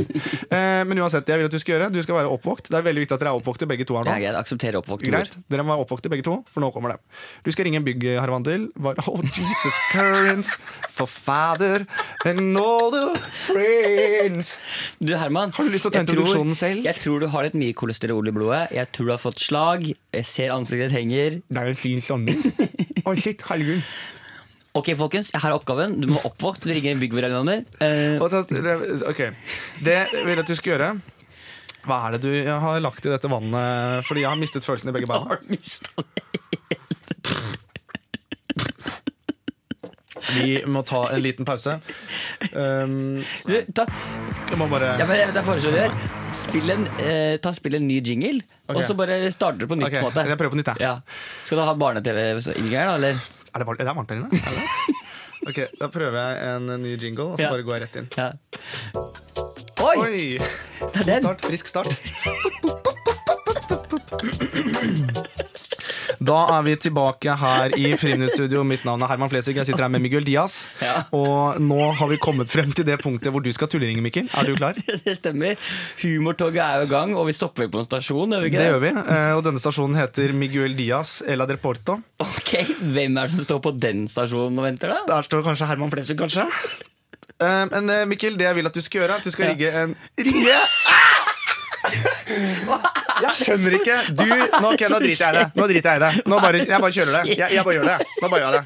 [SPEAKER 2] Eh, men uansett, jeg vil at du skal gjøre Du skal være oppvåkt. Det er veldig viktig at dere er oppvokte, begge to her
[SPEAKER 3] Det
[SPEAKER 2] nå.
[SPEAKER 3] er greit. Akseptere oppvåkte ord.
[SPEAKER 2] Greit, Dere må være oppvokte begge to, for nå kommer det. Du skal ringe en byggharvandil. Bare, Oh, Jesus currents, for father and all the friends.
[SPEAKER 3] Du, Herman,
[SPEAKER 2] Har du lyst til å ta
[SPEAKER 3] jeg tror-
[SPEAKER 2] introduksjonen selv?
[SPEAKER 3] Jeg tror du har litt mye kolesterol i blodet. Jeg tror du har fått slag. Jeg ser ansiktet ditt henger.
[SPEAKER 2] Det er en fin samling. Å, shit, herregud.
[SPEAKER 3] Ok, folkens, jeg har oppgaven. Du må være oppvåkt. Du ringer en byggverandre. Uh,
[SPEAKER 2] Og tatt- Ok, Det jeg vil at du skal gjøre Hva er det du har lagt i dette vannet? Fordi jeg har mistet følelsen i begge beina.
[SPEAKER 3] har mistet det.
[SPEAKER 2] Vi må ta en liten pause. Um,
[SPEAKER 3] Du, ta,
[SPEAKER 2] jeg må bare
[SPEAKER 3] ja, men jeg, vet, jeg foreslår det her. Spill en, eh, ta, spill en ny jingle,
[SPEAKER 2] Ok.
[SPEAKER 3] og så bare starter du på nytt.
[SPEAKER 2] Ok,
[SPEAKER 3] på en måte
[SPEAKER 2] jeg prøver på nytt, jeg.
[SPEAKER 3] Ja. Skal du ha barne-TV-inngang, da? Eller?
[SPEAKER 2] Er det, varmt, er det varmt her inne? Er det? Ok, Da prøver jeg en ny jingle, og så
[SPEAKER 3] Ja.
[SPEAKER 2] bare går jeg rett inn.
[SPEAKER 3] Ja. Oi!
[SPEAKER 2] Oi!
[SPEAKER 3] Det er den!
[SPEAKER 2] Start, frisk start. Da er vi tilbake her i Friminuttstudio. Mitt navn er Herman Flesvig. Jeg sitter her med Miguel Diaz.
[SPEAKER 3] Ja.
[SPEAKER 2] Og nå har vi kommet frem til det punktet hvor du skal tulleringe, Mikkel. Er du klar?
[SPEAKER 3] Det stemmer. Humortoget er jo i gang, og vi stopper på en stasjon. Gjør vi ikke
[SPEAKER 2] Det gjør vi. eh, Og denne stasjonen heter Miguel Diaz Ella del Porto.
[SPEAKER 3] Ok, Hvem er det som står på den stasjonen og venter, da?
[SPEAKER 2] Der står kanskje Herman Flesvig, kanskje. Eh, Men eh, Mikkel, det jeg vil at du skal gjøre, er at du skal
[SPEAKER 3] Ja.
[SPEAKER 2] rigge en Rigge! Jeg skjønner ikke. Du, nå, ok, nå driter jeg i det. Nå driter jeg i det. Nå bare, jeg bare kjører det. Jeg, jeg bare gjør det. Nå bare gjør jeg det.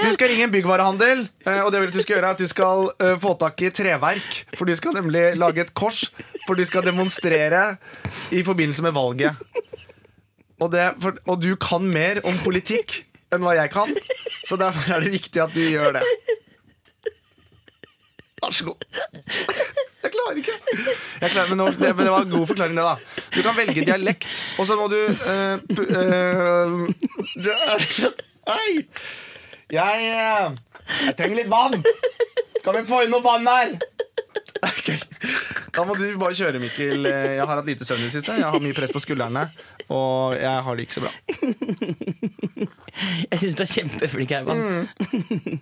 [SPEAKER 2] Du skal ringe en byggvarehandel, eh, og det vil du skal gjøre er at du skal eh, få tak i treverk. For du skal nemlig lage et kors, for du skal demonstrere i forbindelse med valget. Og, det, for, og du kan mer om politikk enn hva jeg kan, så derfor er det viktig at du gjør det. Vær så god. Jeg klarer ikke. Jeg klarer, men, nå, det, men det var en god forklaring, det, da. Du kan velge dialekt, og så må du eh, pu- eh, det er- Nei! Jeg, eh, jeg trenger litt vann. Kan vi få inn noe vann her? Ok. Da må du bare kjøre, Mikkel. Eh, Jeg har hatt lite søvn i det siste. Jeg har mye press på skuldrene, og jeg har det ikke så bra.
[SPEAKER 3] Jeg syns du er kjempeflink, Herman.
[SPEAKER 2] Mm.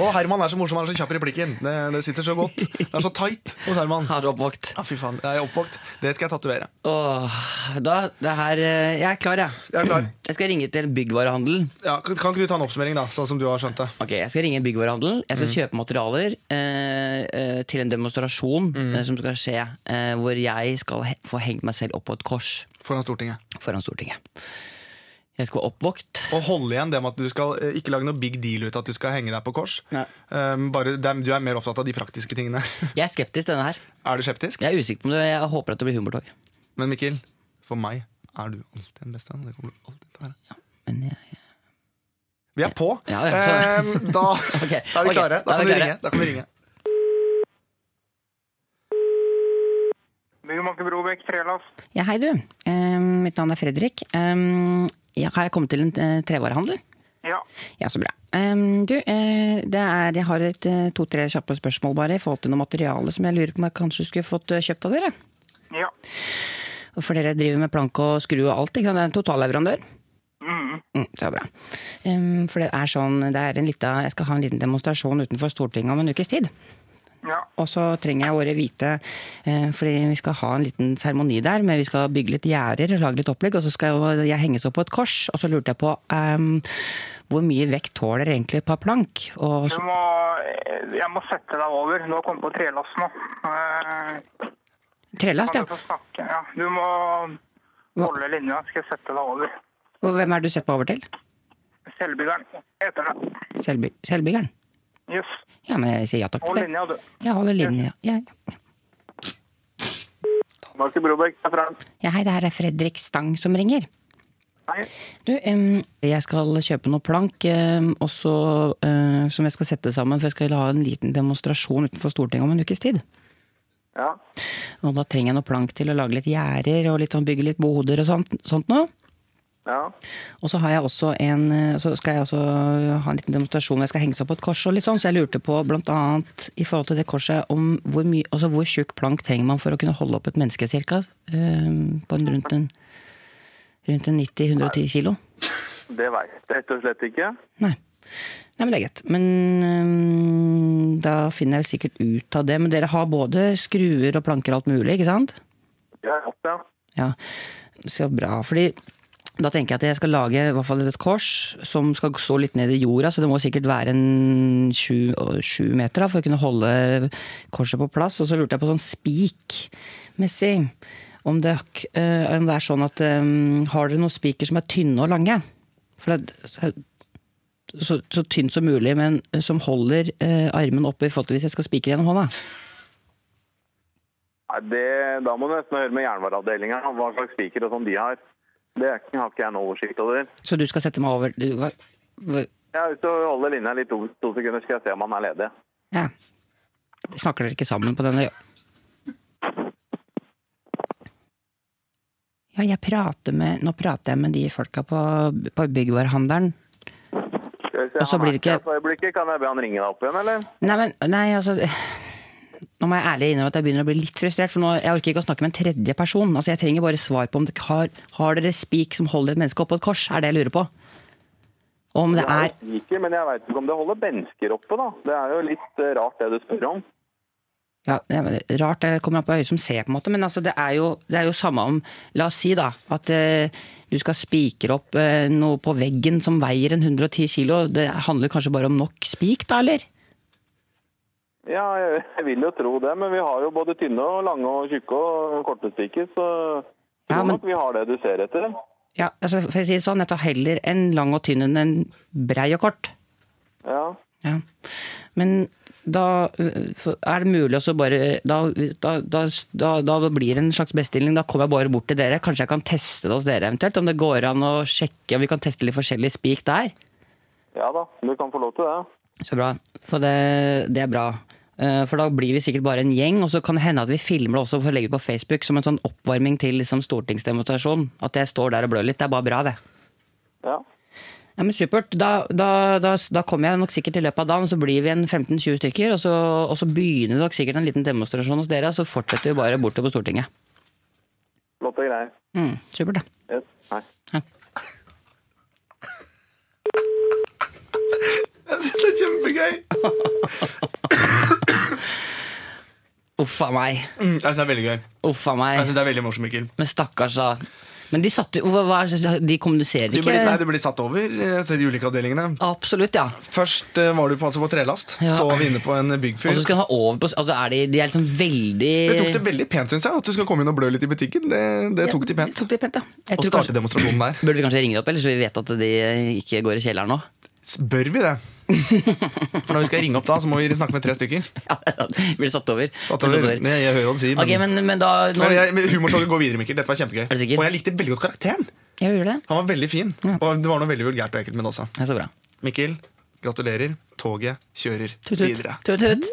[SPEAKER 2] Og Herman er så morsom, han er så kjapp i replikken. Det, det sitter så godt. Det er så tight hos Herman.
[SPEAKER 3] Han er så oppvåkt.
[SPEAKER 2] Ja, fy faen, jeg er oppvåkt. Det skal jeg tatovere.
[SPEAKER 3] Åh, da, det her eh, Jeg er klar, jeg.
[SPEAKER 2] Jeg er klar.
[SPEAKER 3] Jeg skal ringe til en byggvarehandel.
[SPEAKER 2] Ja, kan kan ikke du ta en oppsummering, da, sånn som du har skjønt det?
[SPEAKER 3] Ok, Jeg skal ringe en byggvarehandel. Jeg
[SPEAKER 2] Mm.
[SPEAKER 3] skal kjøpe materialer eh, eh, til en demonstrasjon
[SPEAKER 2] Mm.
[SPEAKER 3] eh, som skal skje, eh, hvor jeg skal he få hengt meg selv opp på et kors
[SPEAKER 2] Foran Stortinget.
[SPEAKER 3] foran Stortinget. Jeg skal være oppvåkt.
[SPEAKER 2] Og holde igjen det med at du skal eh, ikke lage noe big deal ut av at du skal henge deg på kors.
[SPEAKER 3] Nei.
[SPEAKER 2] Um, bare, det er- du er mer opptatt av de praktiske tingene.
[SPEAKER 3] Jeg er skeptisk til denne her.
[SPEAKER 2] er du skeptisk?
[SPEAKER 3] Jeg er usikker på om det, jeg håper at det blir humortog.
[SPEAKER 2] Men Mikkel, for meg er du alltid den beste. og Det kommer du alltid til å være.
[SPEAKER 3] Men jeg
[SPEAKER 2] Vi er på!
[SPEAKER 3] Ja, ja, sånn.
[SPEAKER 2] Um, da, da er vi
[SPEAKER 3] ok,
[SPEAKER 2] klare.
[SPEAKER 3] da
[SPEAKER 2] Da
[SPEAKER 3] er
[SPEAKER 2] kan du
[SPEAKER 3] vi klare.
[SPEAKER 2] ringe. Da kan du ringe.
[SPEAKER 5] Byggmaker Brobekk, trelast.
[SPEAKER 3] Ja, hei du. Eh, mitt navn er Fredrik. Um, ja, har jeg kommet til en eh, trevarehandel?
[SPEAKER 5] Ja.
[SPEAKER 3] Ja, så bra. Eh, du, eh, det er, jeg har et eh, to-tre kjappe spørsmål bare i forhold til noe materiale som jeg lurer på om jeg kanskje skulle fått eh, kjøpt av dere.
[SPEAKER 5] Ja.
[SPEAKER 3] For dere driver med plank og skru og alt, ikke sant? Det er en totalleverandør. Mm, så bra. Eh, for det er sånn, det er en lita, jeg skal ha en liten demonstrasjon utenfor Stortinget om en ukes tid.
[SPEAKER 5] Ja.
[SPEAKER 3] Og så trenger jeg våre hvite, eh, fordi vi skal ha en liten seremoni der. Men vi skal bygge litt gjerder, lage litt opplegg, og så skal jo jeg henges opp på et kors. Og så lurte jeg på ehm, hvor mye vekt tåler egentlig et par plank? Og
[SPEAKER 5] Du
[SPEAKER 3] så,
[SPEAKER 5] må Jeg må sette deg over. Du har kommet på trelast nå. Eh,
[SPEAKER 3] trelast,
[SPEAKER 5] kan
[SPEAKER 3] ja.
[SPEAKER 5] du få snakke? Ja. Du må holde linja. Skal jeg sette deg over.
[SPEAKER 3] Og hvem er det du setter meg over til?
[SPEAKER 5] Selvbyggeren heter det.
[SPEAKER 3] Selvby selvbyggeren?
[SPEAKER 5] Yes.
[SPEAKER 3] Ja, men jeg sier ja takk til
[SPEAKER 5] Hold
[SPEAKER 3] det.
[SPEAKER 5] linja, du.
[SPEAKER 3] Jeg holder linja. Ja, ja.
[SPEAKER 5] Byggmaker Brobekk, det er Frank.
[SPEAKER 3] ja, hei, det her er Fredrik Stang som ringer.
[SPEAKER 5] Nei.
[SPEAKER 3] Du, em, jeg skal kjøpe noe plank em, også, eh, som jeg skal sette sammen, for jeg skal ha en liten demonstrasjon utenfor Stortinget om en ukes tid.
[SPEAKER 5] Ja.
[SPEAKER 3] Og da trenger jeg noe plank til å lage litt gjerder og litt, sånn- bygge litt boder og sånt, sånt nå.
[SPEAKER 5] Ja.
[SPEAKER 3] Og så, har jeg også en, eh, så skal jeg også ha en liten demonstrasjon hvor jeg skal henges opp på et kors. og litt sånn, Så jeg lurte på blant annet i forhold til det korset om hvor, mye- altså hvor tjukk plank trenger man for å kunne holde opp et menneske cirka? eh, På en, rundt en, rundt en 90-110 kilo?
[SPEAKER 5] Det veit jeg rett og slett ikke.
[SPEAKER 3] Nei. Nei, men det er greit. Men øhm, da finner jeg sikkert ut av det. Men dere har både skruer og planker og alt mulig, ikke sant?
[SPEAKER 5] Ja, ja.
[SPEAKER 3] Ja. Så bra. Fordi da tenker jeg at jeg skal lage i hvert fall et kors som skal stå litt ned i jorda, så det må sikkert være en sju, å, sju meter da, for å kunne holde korset på plass. Og så lurte jeg på sånn spikmessig om det, øh, om det er sånn at øhm, Har dere noen spiker som er tynne og lange? For det, så, så tynn som mulig, men som holder eh, armen oppe i forhold til hvis jeg skal spikre gjennom hånda.
[SPEAKER 5] Nei, det, da må du nesten høre med jernvareavdelinga om hva slags spiker og sånn de har. Det er ikke- har ikke jeg noe oversikt over.
[SPEAKER 3] Så du skal sette meg over du, hva, hva,
[SPEAKER 5] Jeg er ute og holder linja litt to, to sekunder, skal jeg se om han er ledig.
[SPEAKER 3] ja. Snakker dere ikke sammen på denne Ja, jeg prater med Nå prater jeg med de folka på, på byggvarehandelen.
[SPEAKER 5] Skal vi se,
[SPEAKER 3] Og så
[SPEAKER 5] han er
[SPEAKER 3] blir det ikke-
[SPEAKER 5] her på øyeblikket. Kan jeg be han ringe deg opp igjen, eller?
[SPEAKER 3] Nei, men Nei, altså Nå må jeg ærlig innrømme at jeg begynner å bli litt frustrert, for nå jeg orker ikke å snakke med en tredje person. Altså, Jeg trenger bare svar på om det har, har dere spik som holder et menneske oppå et kors, er det jeg lurer på. Og om det er
[SPEAKER 5] Jeg vet ikke, men jeg veit ikke om det holder mennesker oppe, da. Det er jo litt eh, rart det du spør om.
[SPEAKER 3] Ja, det er Rart det kommer an på øyet som ser, på en måte, men altså, det, er jo, det er jo samme om La oss si da, at eh, du skal spikre opp eh, noe på veggen som veier en 110 kilo. Det handler kanskje bare om nok spik, da, eller?
[SPEAKER 5] Ja, jeg, jeg vil jo tro det, men vi har jo både tynne og lange og tjukke og korte spiker, så jeg
[SPEAKER 3] Ja,
[SPEAKER 5] tror
[SPEAKER 3] men-
[SPEAKER 5] nok vi har det du ser etter.
[SPEAKER 3] Ja, altså, for å si det sånn, jeg tar heller en lang og tynn enn en brei og kort.
[SPEAKER 5] Ja.
[SPEAKER 3] Ja. Men da øh, for- er det mulig også bare da, da, da, da, da blir det en slags bestilling. Da kommer jeg bare bort til dere. Kanskje jeg kan teste det hos dere eventuelt? Om det går an å sjekke om vi kan teste litt forskjellig spik der?
[SPEAKER 5] ja da, du kan få lov til det.
[SPEAKER 3] Så bra. For det, det er bra. Eh, For da blir vi sikkert bare en gjeng, og så kan det hende at vi filmer det også for å legge det på Facebook som en sånn oppvarming til liksom, stortingsdemonstrasjon. At jeg står der og blør litt. Det er bare bra, det.
[SPEAKER 5] Ja.
[SPEAKER 3] Ja, men Supert. Da, da, da, da kommer jeg nok sikkert i løpet av dagen, så blir vi en 15-20 stykker. Og så, og så begynner vi nok sikkert en liten demonstrasjon hos dere, og så fortsetter vi bare bortover på Stortinget.
[SPEAKER 5] Flott og greier.
[SPEAKER 3] Mm, supert, det.
[SPEAKER 5] Yes. Hei.
[SPEAKER 2] Jeg synes det er kjempegøy!
[SPEAKER 3] Uff a meg.
[SPEAKER 2] Mm, jeg synes det er veldig gøy.
[SPEAKER 3] Uff a
[SPEAKER 2] Jeg
[SPEAKER 3] meg.
[SPEAKER 2] synes det er veldig morsomt, Mikkel.
[SPEAKER 3] Men stakkars, da. Men de satte jo hva- hva- De kommuniserer
[SPEAKER 2] Du blir, nei,
[SPEAKER 3] ikke.
[SPEAKER 2] du blir satt over eh, til de ulike avdelingene.
[SPEAKER 3] Absolutt, ja.
[SPEAKER 2] Først eh, var du på, altså på trelast,
[SPEAKER 3] Ja.
[SPEAKER 2] så var vi inne på en
[SPEAKER 3] Og
[SPEAKER 2] byggfyr.
[SPEAKER 3] så skal han ha over på altså er de, de er liksom veldig
[SPEAKER 2] Det tok det veldig pent, synes jeg. At du skal komme inn og blø litt i butikken. Det, det tok de pent.
[SPEAKER 3] Tok de pent, ja.
[SPEAKER 2] Og
[SPEAKER 3] Jeg tror
[SPEAKER 2] starte
[SPEAKER 3] kanskje,
[SPEAKER 2] demonstrasjonen der.
[SPEAKER 3] burde vi kanskje ringe dem opp, eller så vi vet at de ikke går i kjelleren nå?
[SPEAKER 2] S- Bør vi det? For når vi skal ringe opp da, så må vi snakke med tre stykker.
[SPEAKER 3] Ja, blir det satt over.
[SPEAKER 2] Satt
[SPEAKER 3] Blir
[SPEAKER 2] over.
[SPEAKER 3] det
[SPEAKER 2] Jeg, jeg hører hva du sier.
[SPEAKER 3] Ok, men, men da nå,
[SPEAKER 2] Men jeg- men humortoget går videre, Mikkel. Dette var kjempegøy.
[SPEAKER 3] du sikker?
[SPEAKER 2] Og jeg likte veldig godt karakteren.
[SPEAKER 3] Jeg gjør det.
[SPEAKER 2] Han var veldig fin. Og det var noe veldig vulgært og ekkelt med det også.
[SPEAKER 3] Ja, så bra.
[SPEAKER 2] Mikkel, gratulerer. Toget kjører
[SPEAKER 3] Tut, tut.
[SPEAKER 2] videre.
[SPEAKER 3] tut, tut.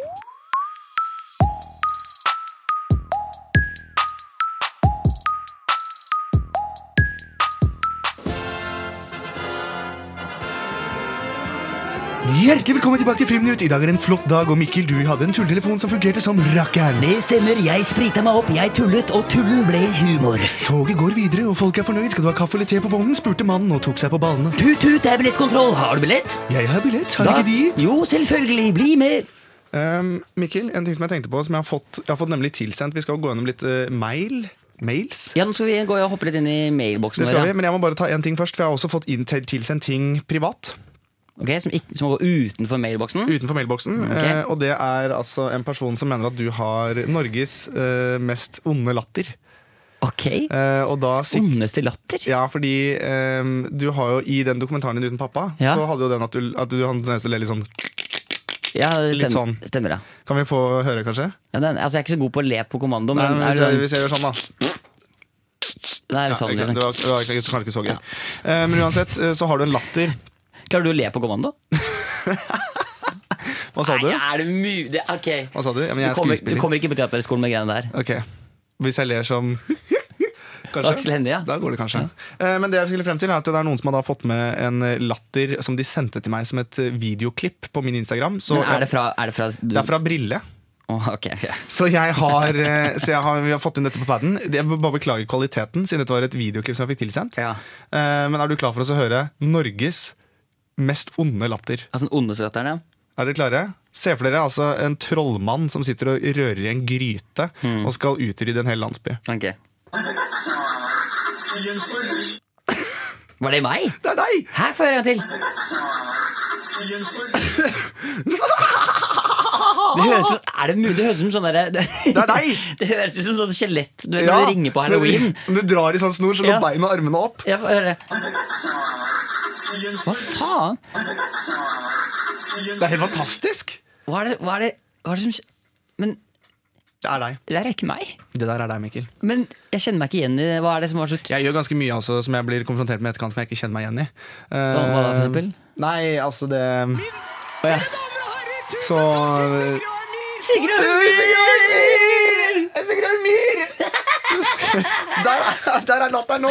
[SPEAKER 2] Hjertelig velkommen tilbake til Friminutt. I dag er en flott dag, og Mikkel, du hadde en tulletelefon som fungerte som rakkeren.
[SPEAKER 4] Det stemmer, jeg sprita meg opp, jeg tullet, og tullen ble humor.
[SPEAKER 2] Toget går videre, og folk er fornøyd. Skal du ha kaffe eller te på vognen? spurte mannen og tok seg på ballene.
[SPEAKER 4] Tut-tut, det er billettkontroll, har du billett?
[SPEAKER 2] Jeg har billett, har ikke de?
[SPEAKER 4] Jo, selvfølgelig, bli med.
[SPEAKER 2] Um, Mikkel, en ting som jeg tenkte på Som jeg har fått, jeg har fått nemlig tilsendt Vi skal jo gå gjennom litt eh, mail Mails
[SPEAKER 3] Ja, nå skal vi gå og hoppe litt inn i mailboksen
[SPEAKER 2] Det skal
[SPEAKER 3] vår.
[SPEAKER 2] vi, men jeg må bare ta en ting først For jeg har også fått inn, til- tilsendt ting privat
[SPEAKER 3] ja. Ok, som, ikke, som må gå utenfor mailboksen.
[SPEAKER 2] Utenfor mailboksen
[SPEAKER 3] Mm,
[SPEAKER 2] eh, Og det er altså en person som mener at du har Norges eh, mest onde latter
[SPEAKER 3] Ok.
[SPEAKER 2] Eh, Og da sikt
[SPEAKER 3] Ondeste latter.
[SPEAKER 2] ja, fordi eh, du har jo i den dokumentaren din uten pappa
[SPEAKER 3] Ja.
[SPEAKER 2] Så hadde jo den at du, at du hadde nesten litt sånn
[SPEAKER 3] Ja,
[SPEAKER 2] Litt
[SPEAKER 3] stemmer,
[SPEAKER 2] sånn.
[SPEAKER 3] stemmer det.
[SPEAKER 2] Kan vi få høre kanskje?
[SPEAKER 3] Ja, den, altså, jeg er ikke så god på å le på kommando, men
[SPEAKER 2] Nei, men
[SPEAKER 3] er
[SPEAKER 2] hvis, jeg,
[SPEAKER 3] det
[SPEAKER 2] hvis jeg gjør sånn da
[SPEAKER 3] Nei,
[SPEAKER 2] Ja,
[SPEAKER 3] sånn,
[SPEAKER 2] ikke sant.
[SPEAKER 3] liksom.
[SPEAKER 2] det var, det var ikke- kanskje ikke så gøy. Eh, Men uansett, eh, så har du en latter.
[SPEAKER 3] sånn. Klarer du å le på kommando?
[SPEAKER 2] Hva sa du?
[SPEAKER 3] Nei, er det mu- det- Ok.
[SPEAKER 2] Hva sa du? Ja, men jeg er
[SPEAKER 3] Du kommer, du
[SPEAKER 2] skuespiller.
[SPEAKER 3] kommer ikke på teaterskolen med greiene der.
[SPEAKER 2] Ok, Hvis jeg ler som Kanskje?
[SPEAKER 3] Aksel Hennie, ja.
[SPEAKER 2] Da går det kanskje. Eh, Men det jeg skulle frem til er at det er noen som har da fått med en latter som de sendte til meg som et eh, videoklipp på min Instagram. Så
[SPEAKER 3] Men er det fra, er det fra, du,
[SPEAKER 2] det er fra Brille.
[SPEAKER 3] Åh, ok, ok.
[SPEAKER 2] Så, jeg har, eh, så jeg har, vi har fått inn dette på paden. Jeg vil bare beklage kvaliteten, siden dette var et videoklipp som jeg fikk tilsendt.
[SPEAKER 3] Ja.
[SPEAKER 2] Eh, Men er du klar for oss å høre Norges mest onde latter?
[SPEAKER 3] Altså den ondeste latteren, ja.
[SPEAKER 2] Er dere klare? Se for dere altså en trollmann som sitter og rører i en gryte
[SPEAKER 3] Mm.
[SPEAKER 2] og skal utrydde en hel landsby.
[SPEAKER 3] Ok. Var det meg?
[SPEAKER 2] Det er deg!
[SPEAKER 3] Her får jeg høre en til. Det høres ut, er det mulig? Det høres ut som sånn derre det,
[SPEAKER 2] Det er deg!
[SPEAKER 3] det høres ut som sånn skjelett du, vet når du ringer på halloween.
[SPEAKER 2] Når du, når du drar i sånn snor, så går
[SPEAKER 3] Ja.
[SPEAKER 2] beina og armene opp.
[SPEAKER 3] Jeg får høre Hva faen?
[SPEAKER 2] Det er helt fantastisk.
[SPEAKER 3] Hva er det, hva er det, hva er det som skje- Men
[SPEAKER 2] Det er deg.
[SPEAKER 3] det der er ikke meg.
[SPEAKER 2] Det der er deg, Mikkel.
[SPEAKER 3] Men jeg kjenner meg ikke igjen i det. Hva er det som var så
[SPEAKER 2] Jeg gjør ganske mye altså, som jeg blir konfrontert med i etterkant som jeg ikke kjenner meg igjen i.
[SPEAKER 3] Sånn, hva da, for eksempel?
[SPEAKER 2] Eh, Nei, altså det Å, ja. Så
[SPEAKER 3] Sigrun!
[SPEAKER 2] Sigrun Myhr! Der, er- der er latteren nå!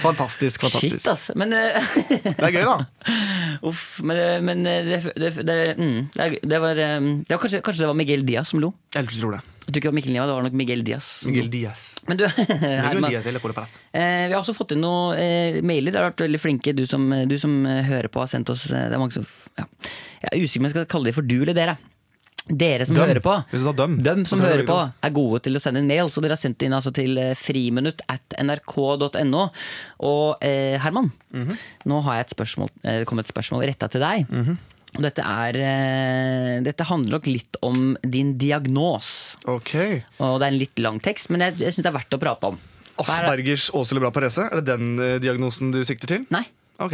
[SPEAKER 2] Fantastisk.
[SPEAKER 3] Shit,
[SPEAKER 2] fantastisk
[SPEAKER 3] ass. Men, eh,
[SPEAKER 2] Det er gøy, da.
[SPEAKER 3] uff, men, eh, men eh, det, det, det, mm, det, er- det var, eh, det var kanskje, kanskje det var Miguel Diaz som lo.
[SPEAKER 2] Jeg tror det.
[SPEAKER 3] Jeg tror ikke det var Mikkel Niva, det var nok Miguel Diaz. som lo.
[SPEAKER 2] Miguel Diaz.
[SPEAKER 3] Men du, Herman,
[SPEAKER 2] Miguel Diaz eller Cole Parat.
[SPEAKER 3] eh, vi har også fått inn noen eh, mailer. Det har vært veldig flinke, du som, du som eh, hører på har sendt oss eh, Det er mange som ja. Jeg er usikker om jeg skal kalle dem for du eller dere. Dere som
[SPEAKER 2] Dem.
[SPEAKER 3] hører på,
[SPEAKER 2] Hvis du tar dem,
[SPEAKER 3] dem som
[SPEAKER 2] så tror jeg
[SPEAKER 3] hører
[SPEAKER 2] det
[SPEAKER 3] på
[SPEAKER 2] blir
[SPEAKER 3] er gode til å sende inn mail, så dere har sendt inn altså til eh, friminutt at nrk.no. Og eh, Herman,
[SPEAKER 2] Mhm.
[SPEAKER 3] nå har jeg et spørsmål, eh, det kom et spørsmål retta til deg. Og dette, er, eh, dette handler nok litt om din diagnos.
[SPEAKER 2] Ok.
[SPEAKER 3] Og det er en litt lang tekst, men jeg, jeg syns det er verdt å prate om. Hva er det?
[SPEAKER 2] Aspergers Åse Lebra Parese, er det den eh, diagnosen du sikter til?
[SPEAKER 3] Nei,
[SPEAKER 2] Ok,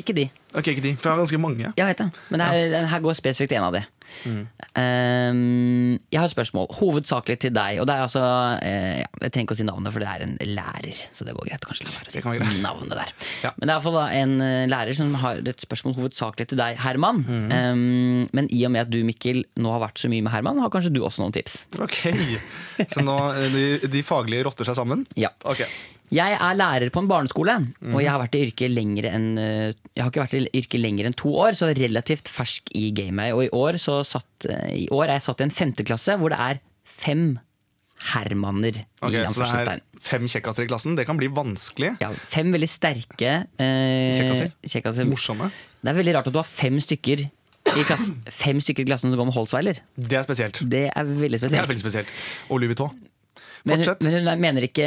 [SPEAKER 3] ikke de.
[SPEAKER 2] ok, ikke de, for jeg har ganske mange.
[SPEAKER 3] Jeg vet det. Men det er, den her går spesifikt til en av de.
[SPEAKER 2] Mm.
[SPEAKER 3] Um, jeg har et spørsmål, hovedsakelig til deg. Og det er altså eh, ja, Jeg trenger ikke å si navnet, for det er en lærer. Så det går greit. Kanskje la være å
[SPEAKER 2] Det kan være
[SPEAKER 3] si
[SPEAKER 2] greit.
[SPEAKER 3] navnet der.
[SPEAKER 2] Ja.
[SPEAKER 3] Men det er iallfall en eh, lærer som har et spørsmål hovedsakelig til deg, Herman.
[SPEAKER 2] Mhm.
[SPEAKER 3] Um, men i og med at du, Mikkel, nå har vært så mye med Herman, har kanskje du også noen tips?
[SPEAKER 2] Ok, Så nå eh, de, de faglige rotter seg sammen?
[SPEAKER 3] Ja.
[SPEAKER 2] Ok,
[SPEAKER 3] Jeg er lærer på en barneskole,
[SPEAKER 2] Mhm.
[SPEAKER 3] og jeg har vært i yrket lenger enn eh, Jeg har ikke vært i yrket lenger enn to år, så relativt fersk i gamet. Og i år, så satt, eh, i år er jeg satt i en femteklasse hvor det er fem hermaner.
[SPEAKER 2] Ok,
[SPEAKER 3] i
[SPEAKER 2] Så det er
[SPEAKER 3] anførselstegn.
[SPEAKER 2] fem kjekkaser i klassen. Det kan bli vanskelig.
[SPEAKER 3] Ja, fem veldig sterke eh,
[SPEAKER 2] Kjekkaser?
[SPEAKER 3] kjekkaser.
[SPEAKER 2] Morsomme.
[SPEAKER 3] Det er veldig rart at du har fem stykker i klassen, fem stykker i klassen som går med Holzweiler.
[SPEAKER 2] Det er spesielt.
[SPEAKER 3] Det er veldig
[SPEAKER 2] Det er
[SPEAKER 3] spesielt.
[SPEAKER 2] veldig spesielt. Og Louis Vuitton.
[SPEAKER 3] Men, hun-
[SPEAKER 2] Fortsett.
[SPEAKER 3] men hun er- mener ikke,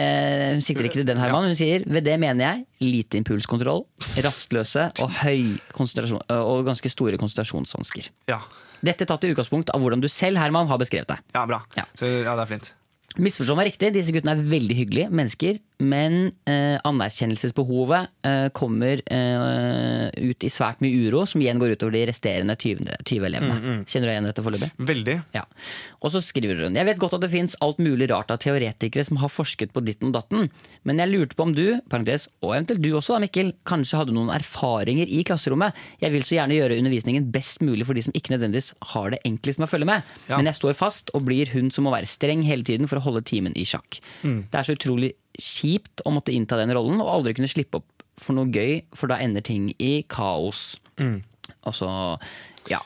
[SPEAKER 3] hun sikter ikke til den, Herman. Hun sier ved det mener jeg lite impulskontroll, rastløse og, høy konsentrasjon, og ganske store konsentrasjonsvansker.
[SPEAKER 2] Ja,
[SPEAKER 3] Dette tatt i utgangspunkt av hvordan du selv, Herman, har beskrevet deg.
[SPEAKER 2] ja bra.
[SPEAKER 3] Ja.
[SPEAKER 2] Så, ja, det er flint.
[SPEAKER 3] Misforstå meg riktig, disse guttene er veldig hyggelige mennesker, men eh, anerkjennelsesbehovet eh, kommer eh, ut i svært mye uro, som igjen går utover de resterende 20, 20 elevene. Kjenner du deg igjen i dette foreløpig?
[SPEAKER 2] Veldig.
[SPEAKER 3] Ja. Og så skriver hun Jeg vet godt at det finnes alt mulig rart av teoretikere som har forsket på ditten og datten, men jeg lurte på om du, parentes, og eventuelt du også da, Mikkel, kanskje hadde noen erfaringer i klasserommet. Jeg vil så gjerne gjøre undervisningen best mulig for de som ikke nødvendigvis har det enklest med å følge med,
[SPEAKER 2] Ja.
[SPEAKER 3] men jeg står fast og blir hun som må være streng hele tiden for å holde timen i sjakk. Det er så utrolig kjipt å måtte innta den rollen og aldri kunne slippe opp for noe gøy, for da ender ting i kaos. Og så, ja.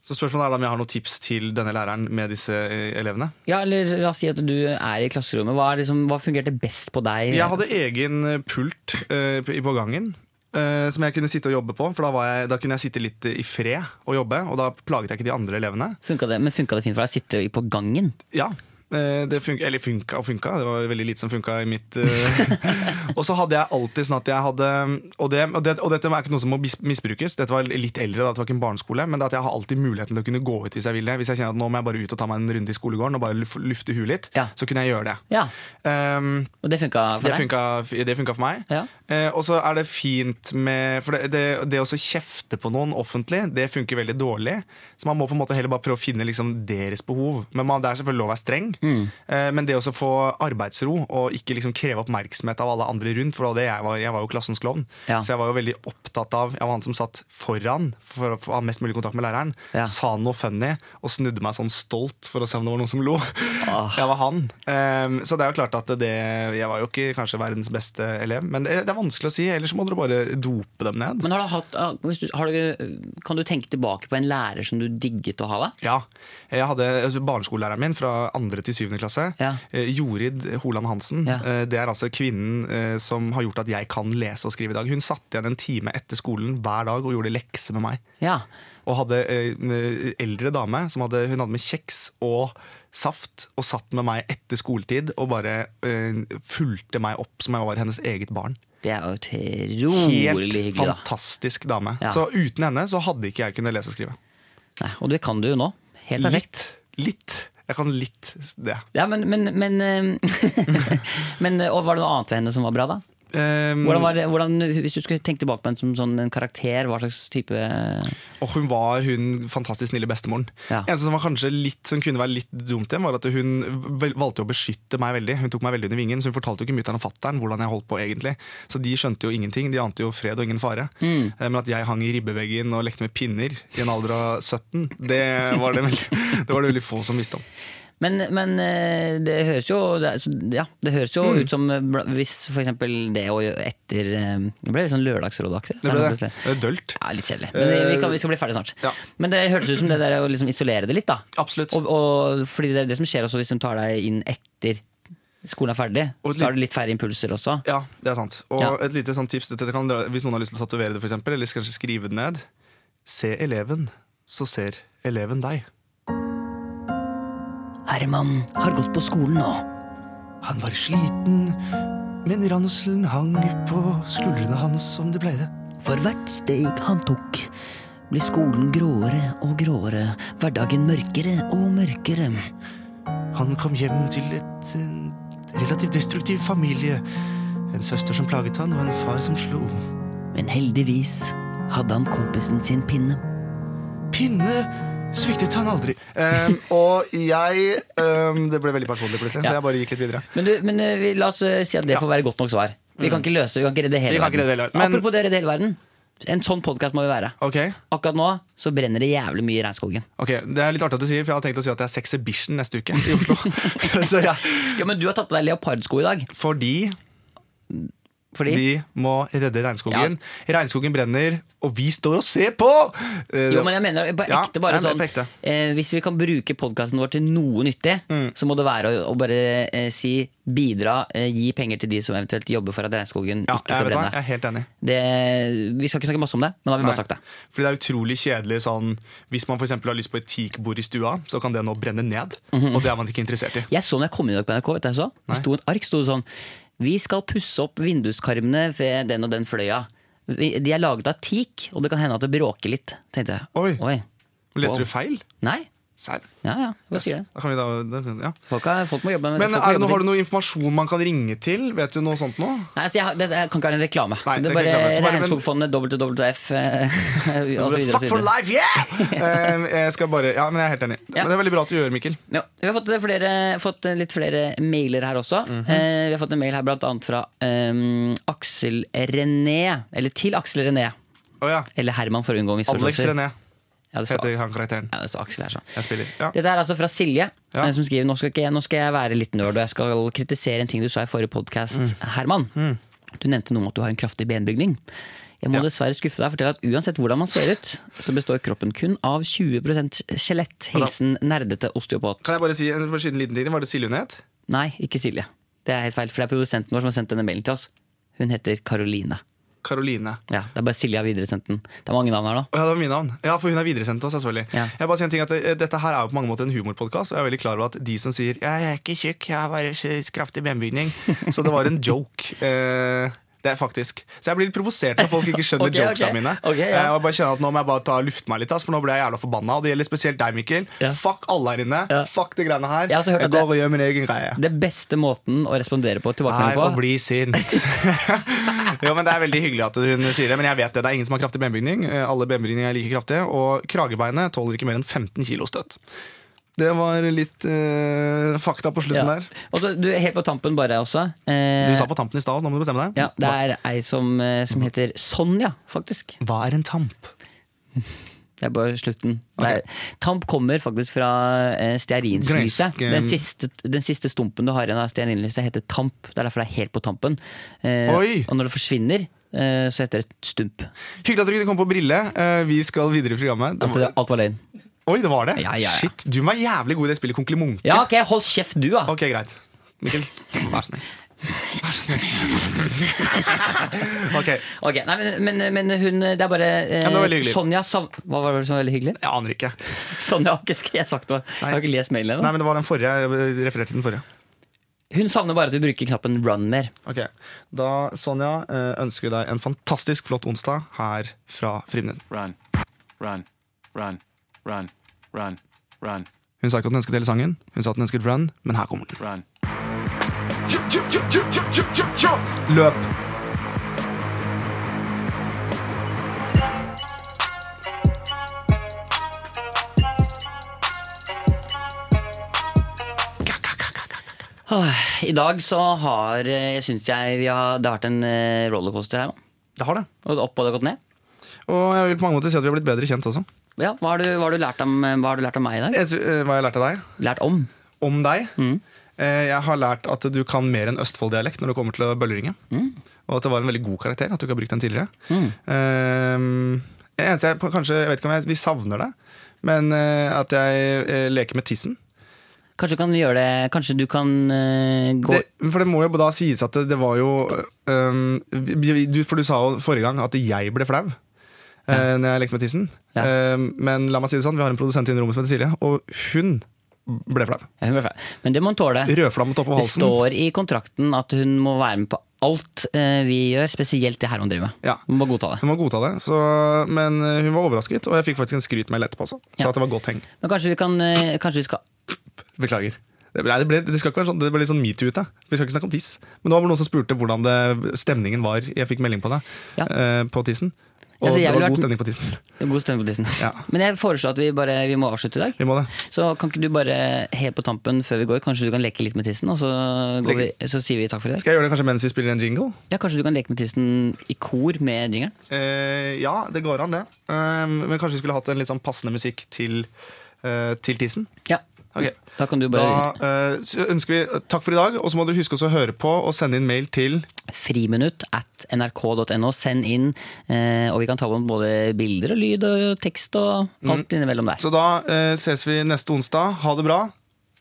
[SPEAKER 2] Så spørsmålet er da om jeg har noen tips til denne læreren med disse eh, elevene.
[SPEAKER 3] Ja, eller la oss si at du er i klasserommet. Hva, er liksom, hva fungerte best på deg?
[SPEAKER 2] Jeg hadde egen eh, pult eh, p- på gangen. eh, som jeg kunne sitte og jobbe på, for da, var jeg, da kunne jeg sitte litt i fred og jobbe. Og da plaget jeg ikke de andre elevene.
[SPEAKER 3] Funka det, men funka det fint for deg å sitte på gangen?
[SPEAKER 2] Ja, eh, det funka, eller funka og funka. Det var veldig lite som funka i mitt eh, Og så hadde jeg alltid sånn at jeg hadde og, det, og, det, og dette er ikke noe som må bis- misbrukes. Dette var litt eldre, da, det var ikke en barneskole. Men det er at jeg har alltid muligheten til å kunne gå ut hvis jeg vil det. Hvis jeg kjenner at nå må jeg bare ut og ta meg en runde i skolegården og bare luf- lufte huet litt,
[SPEAKER 3] Ja.
[SPEAKER 2] så kunne jeg gjøre det.
[SPEAKER 3] Ja,
[SPEAKER 2] Um,
[SPEAKER 3] Og det funka for
[SPEAKER 2] det
[SPEAKER 3] deg?
[SPEAKER 2] funka, det funka for meg.
[SPEAKER 3] Ja.
[SPEAKER 2] Eh, og så er det fint med For det, det, det å så kjefte på noen offentlig, det funker veldig dårlig. Så man må på en måte heller bare prøve å finne liksom deres behov. Men man, det er selvfølgelig lov å være streng,
[SPEAKER 3] Mm.
[SPEAKER 2] Eh, Men det også å få arbeidsro og ikke liksom kreve oppmerksomhet av alle andre rundt, for det var det jeg var, jeg var jo klassens klovn.
[SPEAKER 3] Ja.
[SPEAKER 2] Så jeg var jo veldig opptatt av Jeg var han som satt foran for å få- ha mest mulig kontakt med læreren.
[SPEAKER 3] Ja.
[SPEAKER 2] Sa noe funny og snudde meg sånn stolt for å se om det var noen som lo.
[SPEAKER 3] Ah.
[SPEAKER 2] Jeg var han. Eh, Så det er jo klart at det Jeg var jo ikke kanskje verdens beste elev, men det det er vanskelig å si. Ellers så må dere bare dope dem ned.
[SPEAKER 3] Men har du hatt, ah, hvis du, har du, kan du tenke tilbake på en lærer som du digget å ha? da?
[SPEAKER 2] Ja. Jeg hadde altså, Barneskolelæreren min fra andre til syvende klasse,
[SPEAKER 3] Ja.
[SPEAKER 2] eh, Jorid Holand Hansen,
[SPEAKER 3] Ja.
[SPEAKER 2] eh, det er altså kvinnen eh, som har gjort at jeg kan lese og skrive i dag. Hun satt igjen en time etter skolen hver dag og gjorde lekser med meg.
[SPEAKER 3] Ja.
[SPEAKER 2] Og hadde eh, en eldre dame som hadde, hun hadde med kjeks og saft og satt med meg etter skoletid og bare eh, fulgte meg opp som om jeg var hennes eget barn.
[SPEAKER 3] Det er jo utrolig
[SPEAKER 2] Helt
[SPEAKER 3] hyggelig, da.
[SPEAKER 2] fantastisk dame.
[SPEAKER 3] Ja.
[SPEAKER 2] Så uten henne så hadde ikke jeg kunnet lese og skrive.
[SPEAKER 3] Nei, og det kan du jo nå. Helt perfekt.
[SPEAKER 2] Litt. Litt. Jeg kan litt det.
[SPEAKER 3] Ja, men, men, men, eh, men eh, Og var det noe annet ved henne som var bra, da?
[SPEAKER 2] Um,
[SPEAKER 3] Hvordan var det, hvordan, hvis du skulle tenke tilbake på henne som sånn en karakter, hva slags type Ja,
[SPEAKER 2] Og hun var hun fantastisk snille bestemoren.
[SPEAKER 3] Ja.
[SPEAKER 2] Eneste som var kanskje litt, som kunne være litt dumt igjen, var at hun vel- valgte å beskytte meg veldig. Hun tok meg veldig under vingen, så hun fortalte jo ikke mutter'n og fatter'n hvordan jeg holdt på egentlig. Så de skjønte jo ingenting. De ante jo fred og ingen fare.
[SPEAKER 3] Mm.
[SPEAKER 2] Eh, Men at jeg hang i ribbeveggen og lekte med pinner i en alder av 17, det var det veldig, det, var det veldig få som visste om.
[SPEAKER 3] Men, men eh, det høres jo, det, er- så- ja, det høres jo
[SPEAKER 2] Mm.
[SPEAKER 3] ut som eh, bla- hvis for eksempel det å gjøre etter eh, Det ble litt sånn lørdagsrådaktig.
[SPEAKER 2] Det ble det. Det er Dølt.
[SPEAKER 3] Ja, litt kjedelig. Men vi, vi, kan, vi skal bli ferdig snart.
[SPEAKER 2] Ja.
[SPEAKER 3] Men det høres ut som det der å liksom isolere det litt, da.
[SPEAKER 2] Absolutt.
[SPEAKER 3] Og, og, fordi det er det som skjer også hvis hun tar deg inn etter skolen er ferdig.
[SPEAKER 2] Og et
[SPEAKER 3] Så har du litt færre impulser også.
[SPEAKER 2] Ja, det er sant. Og
[SPEAKER 3] Ja.
[SPEAKER 2] et lite sånn tips dette kan, dere- hvis noen har lyst til å tatovere det, for eksempel, eller kanskje skrive det ned. Se eleven, så ser eleven deg.
[SPEAKER 3] Herman har gått på skolen nå.
[SPEAKER 4] Han var sliten, men ranselen hang på skuldrene hans som det pleide.
[SPEAKER 3] For hvert steg han tok, blir skolen gråere og gråere, hverdagen mørkere og mørkere.
[SPEAKER 4] Han kom hjem til et en relativt destruktiv familie. En søster som plaget han, og en far som slo.
[SPEAKER 3] Men heldigvis hadde han kompisen sin pinne.
[SPEAKER 4] Pinne sviktet han aldri.
[SPEAKER 2] Um, og jeg um, Det ble veldig personlig plutselig,
[SPEAKER 3] Ja.
[SPEAKER 2] så jeg bare gikk litt videre.
[SPEAKER 3] Men, du, men eh, vi, la oss eh, si at det får være godt nok svar. Vi kan ikke løse, vi kan ikke redde hele
[SPEAKER 2] Mm. Vi kan ikke
[SPEAKER 3] verden.
[SPEAKER 2] redde hele verden, men-
[SPEAKER 3] Apropos det å redde hele verden. En sånn podkast må vi være.
[SPEAKER 2] Ok,
[SPEAKER 3] Akkurat nå så brenner det jævlig mye i regnskogen.
[SPEAKER 2] ok, Det er litt artig at du sier, for jeg hadde tenkt å si at det er Sexhibition neste uke i Oslo. så jeg,
[SPEAKER 3] Ja, men du har tatt på deg leopardsko i dag.
[SPEAKER 2] fordi
[SPEAKER 3] Fordi
[SPEAKER 2] de må redde regnskogen. Regnskogen brenner, og vi står og ser på! Eh,
[SPEAKER 3] Jo, men jeg mener på
[SPEAKER 2] Ja,
[SPEAKER 3] ekte bare
[SPEAKER 2] jeg mener
[SPEAKER 3] sånn
[SPEAKER 2] på ekte.
[SPEAKER 3] Eh, Hvis vi kan bruke podkasten vår til noe nyttig,
[SPEAKER 2] Mm.
[SPEAKER 3] så må det være å, å bare eh, si bidra, eh, gi penger til de som eventuelt jobber for at regnskogen
[SPEAKER 2] ja,
[SPEAKER 3] ikke
[SPEAKER 2] jeg,
[SPEAKER 3] skal
[SPEAKER 2] vet hva, jeg
[SPEAKER 3] brenne.
[SPEAKER 2] er helt enig.
[SPEAKER 3] Det, vi skal ikke snakke masse om det, men da har vi bare
[SPEAKER 2] Nei.
[SPEAKER 3] sagt det.
[SPEAKER 2] Fordi det er utrolig kjedelig sånn Hvis man for eksempel har lyst på et teakbord i stua, så kan det nå brenne ned.
[SPEAKER 3] Mhm.
[SPEAKER 2] Og det er man ikke interessert i.
[SPEAKER 3] Jeg så når jeg kom inn i dag på NRK, vet du hva jeg så? Det sto en ark, sto det sånn Vi skal pusse opp vinduskarmene ved den og den fløya. Vi- De er laget av teak, og det kan hende at det bråker litt, tenkte jeg.
[SPEAKER 2] Oi. Leste du feil?
[SPEAKER 3] Nei?
[SPEAKER 2] Serr?
[SPEAKER 3] Ja ja, jeg bare sier det.
[SPEAKER 2] Da kan vi da, da, ja.
[SPEAKER 3] Folk, har, folk må jobbe med
[SPEAKER 2] Men
[SPEAKER 3] folk må
[SPEAKER 2] er det
[SPEAKER 3] jobbe
[SPEAKER 2] noe, har du noe informasjon man kan ringe til? Vet du noe sånt nå?
[SPEAKER 3] Nei, altså jeg, har- det, det kan ikke være en reklame.
[SPEAKER 2] Nei, det
[SPEAKER 3] så det
[SPEAKER 2] kan
[SPEAKER 3] er
[SPEAKER 2] ikke være
[SPEAKER 3] bare
[SPEAKER 2] det. Så bare- men-
[SPEAKER 3] Regnskogfondet, WWF eh, og så videre.
[SPEAKER 2] Fuck
[SPEAKER 3] Og så
[SPEAKER 2] for
[SPEAKER 3] videre.
[SPEAKER 2] life, yeah! Eh, jeg skal bare, ja, men jeg er helt enig.
[SPEAKER 3] Ja.
[SPEAKER 2] Men det er veldig bra at du gjør, Mikkel.
[SPEAKER 3] Ja, vi har fått, flere, fått litt flere mailer her også.
[SPEAKER 2] Mhm.
[SPEAKER 3] eh, vi har fått en mail her blant annet fra eh, Aksel René. Eller til Aksel René.
[SPEAKER 2] Å ja.
[SPEAKER 3] Eller Herman, for å unngå
[SPEAKER 2] Alex
[SPEAKER 3] misforståelser.
[SPEAKER 2] René
[SPEAKER 3] Ja, det står-
[SPEAKER 2] heter han karakteren.
[SPEAKER 3] ja, det står Aksel her, så.
[SPEAKER 2] Jeg spiller. Ja.
[SPEAKER 3] Dette er altså fra Silje,
[SPEAKER 2] Ja.
[SPEAKER 3] eh, som skriver nå skal, ikke, nå skal jeg være litt nerd, og jeg skal kritisere en ting du sa i forrige podkast,
[SPEAKER 2] Mm.
[SPEAKER 3] Herman. Du nevnte noe om at du har en kraftig benbygning. Jeg må
[SPEAKER 2] Ja.
[SPEAKER 3] dessverre skuffe deg og fortelle at uansett hvordan man ser ut, så består kroppen kun av 20 skjelett. Hilsen nerdete osteopat.
[SPEAKER 2] Kan jeg bare si en bare skyte en liten ting? Var det Silje hun het?
[SPEAKER 3] Nei, ikke Silje. Det er helt feil, for det er produsenten vår som har sendt denne mailen til oss. Hun heter Karoline.
[SPEAKER 2] Karoline.
[SPEAKER 3] Ja, det er bare Silje har videresendt den. Det er mange navn her nå.
[SPEAKER 2] Å Ja, det var mine navn. Ja, for hun er videresendt oss, selvfølgelig.
[SPEAKER 3] Ja.
[SPEAKER 2] Jeg bare sier en ting at eh, Dette her er jo på mange måter en humorpodkast, og jeg er veldig klar over at de som sier 'jeg er ikke tjukk, jeg har bare s- kraftig benbygning', så det var en joke. Eh, det er faktisk. Så jeg blir litt provosert når folk ikke skjønner
[SPEAKER 3] Ok,
[SPEAKER 2] jokesa
[SPEAKER 3] ok.
[SPEAKER 2] mine.
[SPEAKER 3] Ok, ja.
[SPEAKER 2] Eh, og jeg bare kjenner at Nå må jeg bare ta og lufte meg litt, ass, for nå ble jeg jævla forbanna. Og det gjelder spesielt deg, Mikkel.
[SPEAKER 3] Ja.
[SPEAKER 2] Fuck alle her inne.
[SPEAKER 3] Ja.
[SPEAKER 2] Fuck de greiene her.
[SPEAKER 3] Jeg har også hørt at
[SPEAKER 2] går og
[SPEAKER 3] det-
[SPEAKER 2] gjør min egen greie.
[SPEAKER 3] Det beste måten å respondere på
[SPEAKER 2] Nei, å
[SPEAKER 3] tilbakemelding på
[SPEAKER 2] bli sint. jo, men Det er veldig hyggelig at hun sier det, men jeg vet det. Det er ingen som har kraftig benbygning. Eh, Alle benbygninger er like kraftige. Og kragebeinet tåler ikke mer enn 15 kilo støtt. Det var litt eh, fakta på slutten
[SPEAKER 3] Ja.
[SPEAKER 2] der.
[SPEAKER 3] Og så, du, helt på tampen bare også. eh,
[SPEAKER 2] Du sa på tampen i stad, nå må du bestemme deg.
[SPEAKER 3] ja, det er ei som, eh, som heter Sonja, faktisk.
[SPEAKER 2] Hva er en tamp?
[SPEAKER 3] Det er bare slutten. Det er- Tamp kommer faktisk fra eh, stearinlyset.
[SPEAKER 2] Gresk, eh,
[SPEAKER 3] Den, siste- den siste stumpen du har igjen av stearinlyset, heter tamp. Det er derfor det er helt på tampen. Eh,
[SPEAKER 2] Oi!
[SPEAKER 3] og når det forsvinner, eh, så heter det stump.
[SPEAKER 2] Hyggelig at du kunne komme på Brille. Eh, vi skal videre i programmet. Det
[SPEAKER 3] Altså,
[SPEAKER 2] var,
[SPEAKER 3] alt var løgn.
[SPEAKER 2] oi, det var det?
[SPEAKER 3] Ja, ja, ja.
[SPEAKER 2] Shit, Du var jævlig god i det spillet Konkli Munke.
[SPEAKER 3] Ja, ok, hold kjeft du, da!
[SPEAKER 2] Ok, greit. Mikkel, vær så snill. Vær så snill. ok,
[SPEAKER 3] Ok, nei, men, men, men hun Det er bare eh,
[SPEAKER 2] Ja, men det var veldig hyggelig.
[SPEAKER 3] Sonja sav... Hva var det som var veldig hyggelig?
[SPEAKER 2] jeg aner ikke.
[SPEAKER 3] Sonja har ikke skrevet sagt noe. Jeg har ikke lest mailen
[SPEAKER 2] Nei,
[SPEAKER 3] ennå.
[SPEAKER 2] men det var den forrige. Jeg refererte til den forrige.
[SPEAKER 3] Hun savner bare at vi bruker knappen 'run' mer.
[SPEAKER 2] Ok, Da, Sonja, eh, ønsker vi deg en fantastisk flott onsdag her fra Frimnen.
[SPEAKER 6] Run, run, run, run, run, run,
[SPEAKER 2] Hun sa ikke at hun ønsket hele sangen, hun sa at hun ønsket Run, men her kommer den.
[SPEAKER 6] run.
[SPEAKER 2] Løp!
[SPEAKER 3] Åh, I dag så har eh, jeg synes jeg vi har, det har vært en eh, rollercoaster her nå.
[SPEAKER 2] Det har det.
[SPEAKER 3] Og det er opp og det har gått ned.
[SPEAKER 2] Og jeg vil på mange måter si at vi har blitt bedre kjent også.
[SPEAKER 3] Ja, hva har, du, hva, har du lært om, eh, hva har du lært om meg i dag?
[SPEAKER 2] Jeg, eh, hva jeg lærte av deg?
[SPEAKER 3] Lært om?
[SPEAKER 2] Om deg? Eh, Jeg har lært at du kan mer enn Østfold-dialekt når det kommer til å bølleringe. Og at det var en veldig god karakter, at du ikke har brukt den tidligere. Mm. eneste jeg på- kanskje, jeg vet ikke om jeg, vi savner det, men eh, at jeg eh, leker med tissen.
[SPEAKER 3] Kanskje du kan gjøre det Kanskje du kan eh, gå
[SPEAKER 2] Det, for det må jo da sies at det, det var jo øhm, vi- vi- du, For du sa jo forrige gang at jeg ble flau. eh, Når jeg lekte med tissen.
[SPEAKER 3] Ja.
[SPEAKER 2] Øhm, men la meg si det sånn, vi har en produsent inne i rommet som heter Silje, og hun ble flau.
[SPEAKER 3] Ja, hun ble flau. Men det må hun tåle.
[SPEAKER 2] Rødflammet opp på
[SPEAKER 3] Det
[SPEAKER 2] halsen.
[SPEAKER 3] står i kontrakten at hun må være med på alt eh, vi gjør, spesielt det her hun driver med.
[SPEAKER 2] Ja.
[SPEAKER 3] Hun må bare godta det.
[SPEAKER 2] Hun må godta det, så, men øh, hun var overrasket, og jeg fikk faktisk en skrytmail etterpå også. Så
[SPEAKER 3] Ja.
[SPEAKER 2] at det var godt heng.
[SPEAKER 3] Men kanskje vi kan eh, Kanskje vi skal
[SPEAKER 2] Beklager. Det ble, det ble, det skal ikke være sånn, det ble litt sånn metoo ut av. Vi skal ikke snakke om tiss. Men det var vel noen som spurte hvordan det, stemningen var. Jeg fikk melding på det.
[SPEAKER 3] Ja.
[SPEAKER 2] eh, på tissen. Og
[SPEAKER 3] Altså, jeg
[SPEAKER 2] det
[SPEAKER 3] ville
[SPEAKER 2] var
[SPEAKER 3] vært-
[SPEAKER 2] god stemning på tissen.
[SPEAKER 3] God stemme på tissen.
[SPEAKER 2] Ja.
[SPEAKER 3] Men jeg foreslår at vi bare Vi må avslutte i dag.
[SPEAKER 2] Vi må det.
[SPEAKER 3] Så kan ikke du bare helt på tampen før vi går, kanskje du kan leke litt med tissen, og så, går vi,
[SPEAKER 2] Leke.
[SPEAKER 3] så sier vi takk for i dag?
[SPEAKER 2] Skal jeg gjøre det kanskje mens vi spiller en jingle?
[SPEAKER 3] Ja, kanskje du kan leke med tissen i kor med jingeren?
[SPEAKER 2] Eh, ja, det går an, det. Eh, men kanskje vi skulle hatt en litt sånn passende musikk til, eh, til tissen.
[SPEAKER 3] Ja.
[SPEAKER 2] Ok.
[SPEAKER 3] Da kan du
[SPEAKER 2] Da
[SPEAKER 3] bare
[SPEAKER 2] eh, så ønsker vi takk for i dag, og så må dere huske også å høre på og sende inn mail til
[SPEAKER 3] friminutt at nrk.no. Send inn, eh, og vi kan ta med både bilder og lyd og tekst og alt innimellom der.
[SPEAKER 2] Mm. Så da eh, ses vi neste onsdag. Ha det bra.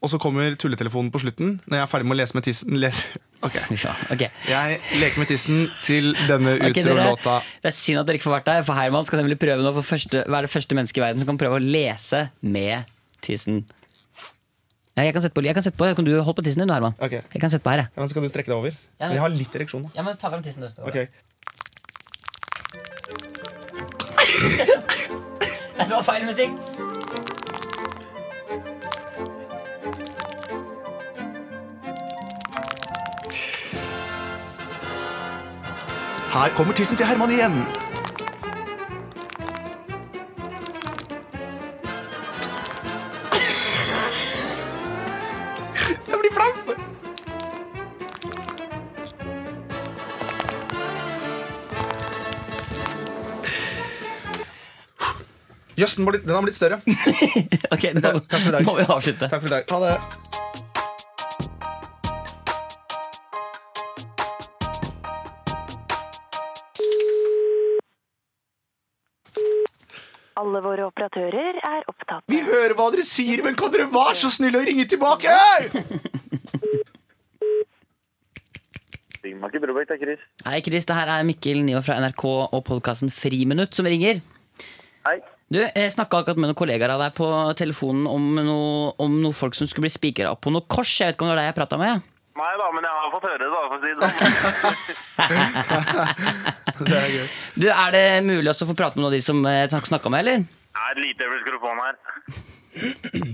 [SPEAKER 2] Og så kommer tulletelefonen på slutten når jeg er ferdig med å lese med tissen. Les. Ok.
[SPEAKER 3] Ja, ok.
[SPEAKER 2] Jeg leker med tissen til denne
[SPEAKER 3] Ok, dere,
[SPEAKER 2] utrolåta.
[SPEAKER 3] det er synd at dere ikke får vært der, for Herman skal nemlig prøve nå for første, være det første mennesket i verden som kan prøve å lese med tissen. Ja, jeg kan sette på. Jeg kan sette på. Kan du holde på tissen din, du, Herman?
[SPEAKER 2] Ok.
[SPEAKER 3] Jeg kan sette på her, jeg.
[SPEAKER 2] Ja, men skal du strekke deg over?
[SPEAKER 3] Ja, men-
[SPEAKER 2] Vi har litt ereksjon nå.
[SPEAKER 3] Ja, men ta frem tissen, du.
[SPEAKER 2] Ok.
[SPEAKER 3] Det var feil musikk.
[SPEAKER 2] Her kommer tissen til Herman igjen. Jeg blir flau. Jøssen, den har blitt større.
[SPEAKER 3] Ok, nå,
[SPEAKER 2] Takk for i dag.
[SPEAKER 3] må vi avslutte.
[SPEAKER 2] Takk for i dag. Ha det.
[SPEAKER 7] Alle våre operatører er opptatt.
[SPEAKER 2] Vi hører hva dere sier, men kan dere være så snill å ringe tilbake?
[SPEAKER 5] Ringmaker Brobæk, det er Chris.
[SPEAKER 3] Hei, Chris. Det her er Mikkel Niva fra NRK og podkasten Friminutt som ringer.
[SPEAKER 5] Hei.
[SPEAKER 3] Du, jeg snakka akkurat med noen kollegaer av deg på telefonen om noe- om noen folk som skulle bli spikra opp på noe kors. Jeg vet ikke om det var deg jeg prata med?
[SPEAKER 5] Nei da, men jeg har fått høre det, da. For å si det sånn.
[SPEAKER 2] Det er gøy.
[SPEAKER 3] Du, Er det mulig også å få prate med noen av de som snakka med, eller?
[SPEAKER 5] Det er et lite øyeblikk skal du få den her.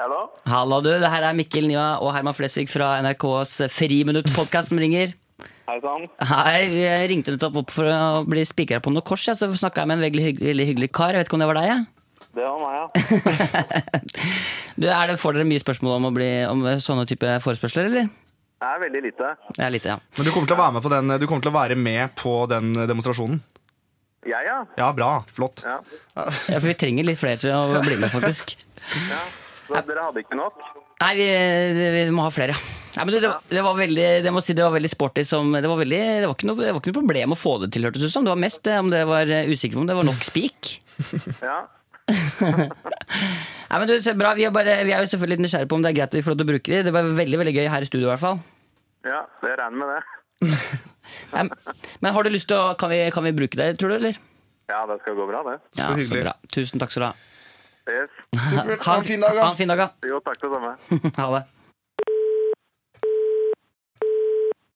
[SPEAKER 5] Hallo?
[SPEAKER 3] Hallo, du. Det her er Mikkel Niva og Herman Flesvig fra NRKs Friminutt-podkast som ringer.
[SPEAKER 5] Hei sann.
[SPEAKER 3] Hei, jeg ringte nettopp opp for å bli spikra på noe kors. Ja, så snakka jeg med en veldig, hygg, veldig hyggelig kar. Jeg vet ikke om det var deg? Ja.
[SPEAKER 5] Det var meg, ja.
[SPEAKER 3] Du, er det, får dere mye spørsmål om, å bli, om sånne type forespørsler, eller?
[SPEAKER 5] Det er veldig lite.
[SPEAKER 3] Ja, lite, ja.
[SPEAKER 2] Men du kommer til å være med på den Du kommer til å være med på den demonstrasjonen.
[SPEAKER 5] Jeg, ja.
[SPEAKER 2] Ja, bra. Flott.
[SPEAKER 5] ja.
[SPEAKER 3] ja. For vi trenger litt flere til å bli med, faktisk.
[SPEAKER 5] ja. Så dere hadde ikke nok?
[SPEAKER 3] Nei, vi, vi må ha flere. ja. Nei, men det, det, var- det var veldig det må jeg si, det var veldig sporty. Som, det, var veldig, det, var ikke noe, det var ikke noe problem å få det til, hørtes det ut som. Det var mest eh, om det var eh, usikker på om det var nok spik.
[SPEAKER 5] Ja.
[SPEAKER 3] Nei, men du, så bra, vi er, bare, vi er jo selvfølgelig litt nysgjerrige på om det er greit at vi får lov til å bruke det. Det var veldig veldig gøy her i studio i hvert fall.
[SPEAKER 5] ja. Jeg regner med det.
[SPEAKER 3] Nei, men har du lyst til å Kan vi, kan vi bruke det, tror du, eller?
[SPEAKER 5] Ja, det skal gå bra, det.
[SPEAKER 2] Så hyggelig.
[SPEAKER 3] bra. Tusen takk skal du ha.
[SPEAKER 5] Yes.
[SPEAKER 2] Supert. Ha en fin dag, da.
[SPEAKER 3] Ha en fin dag, da.
[SPEAKER 5] Jo, takk det samme.
[SPEAKER 3] Ha det.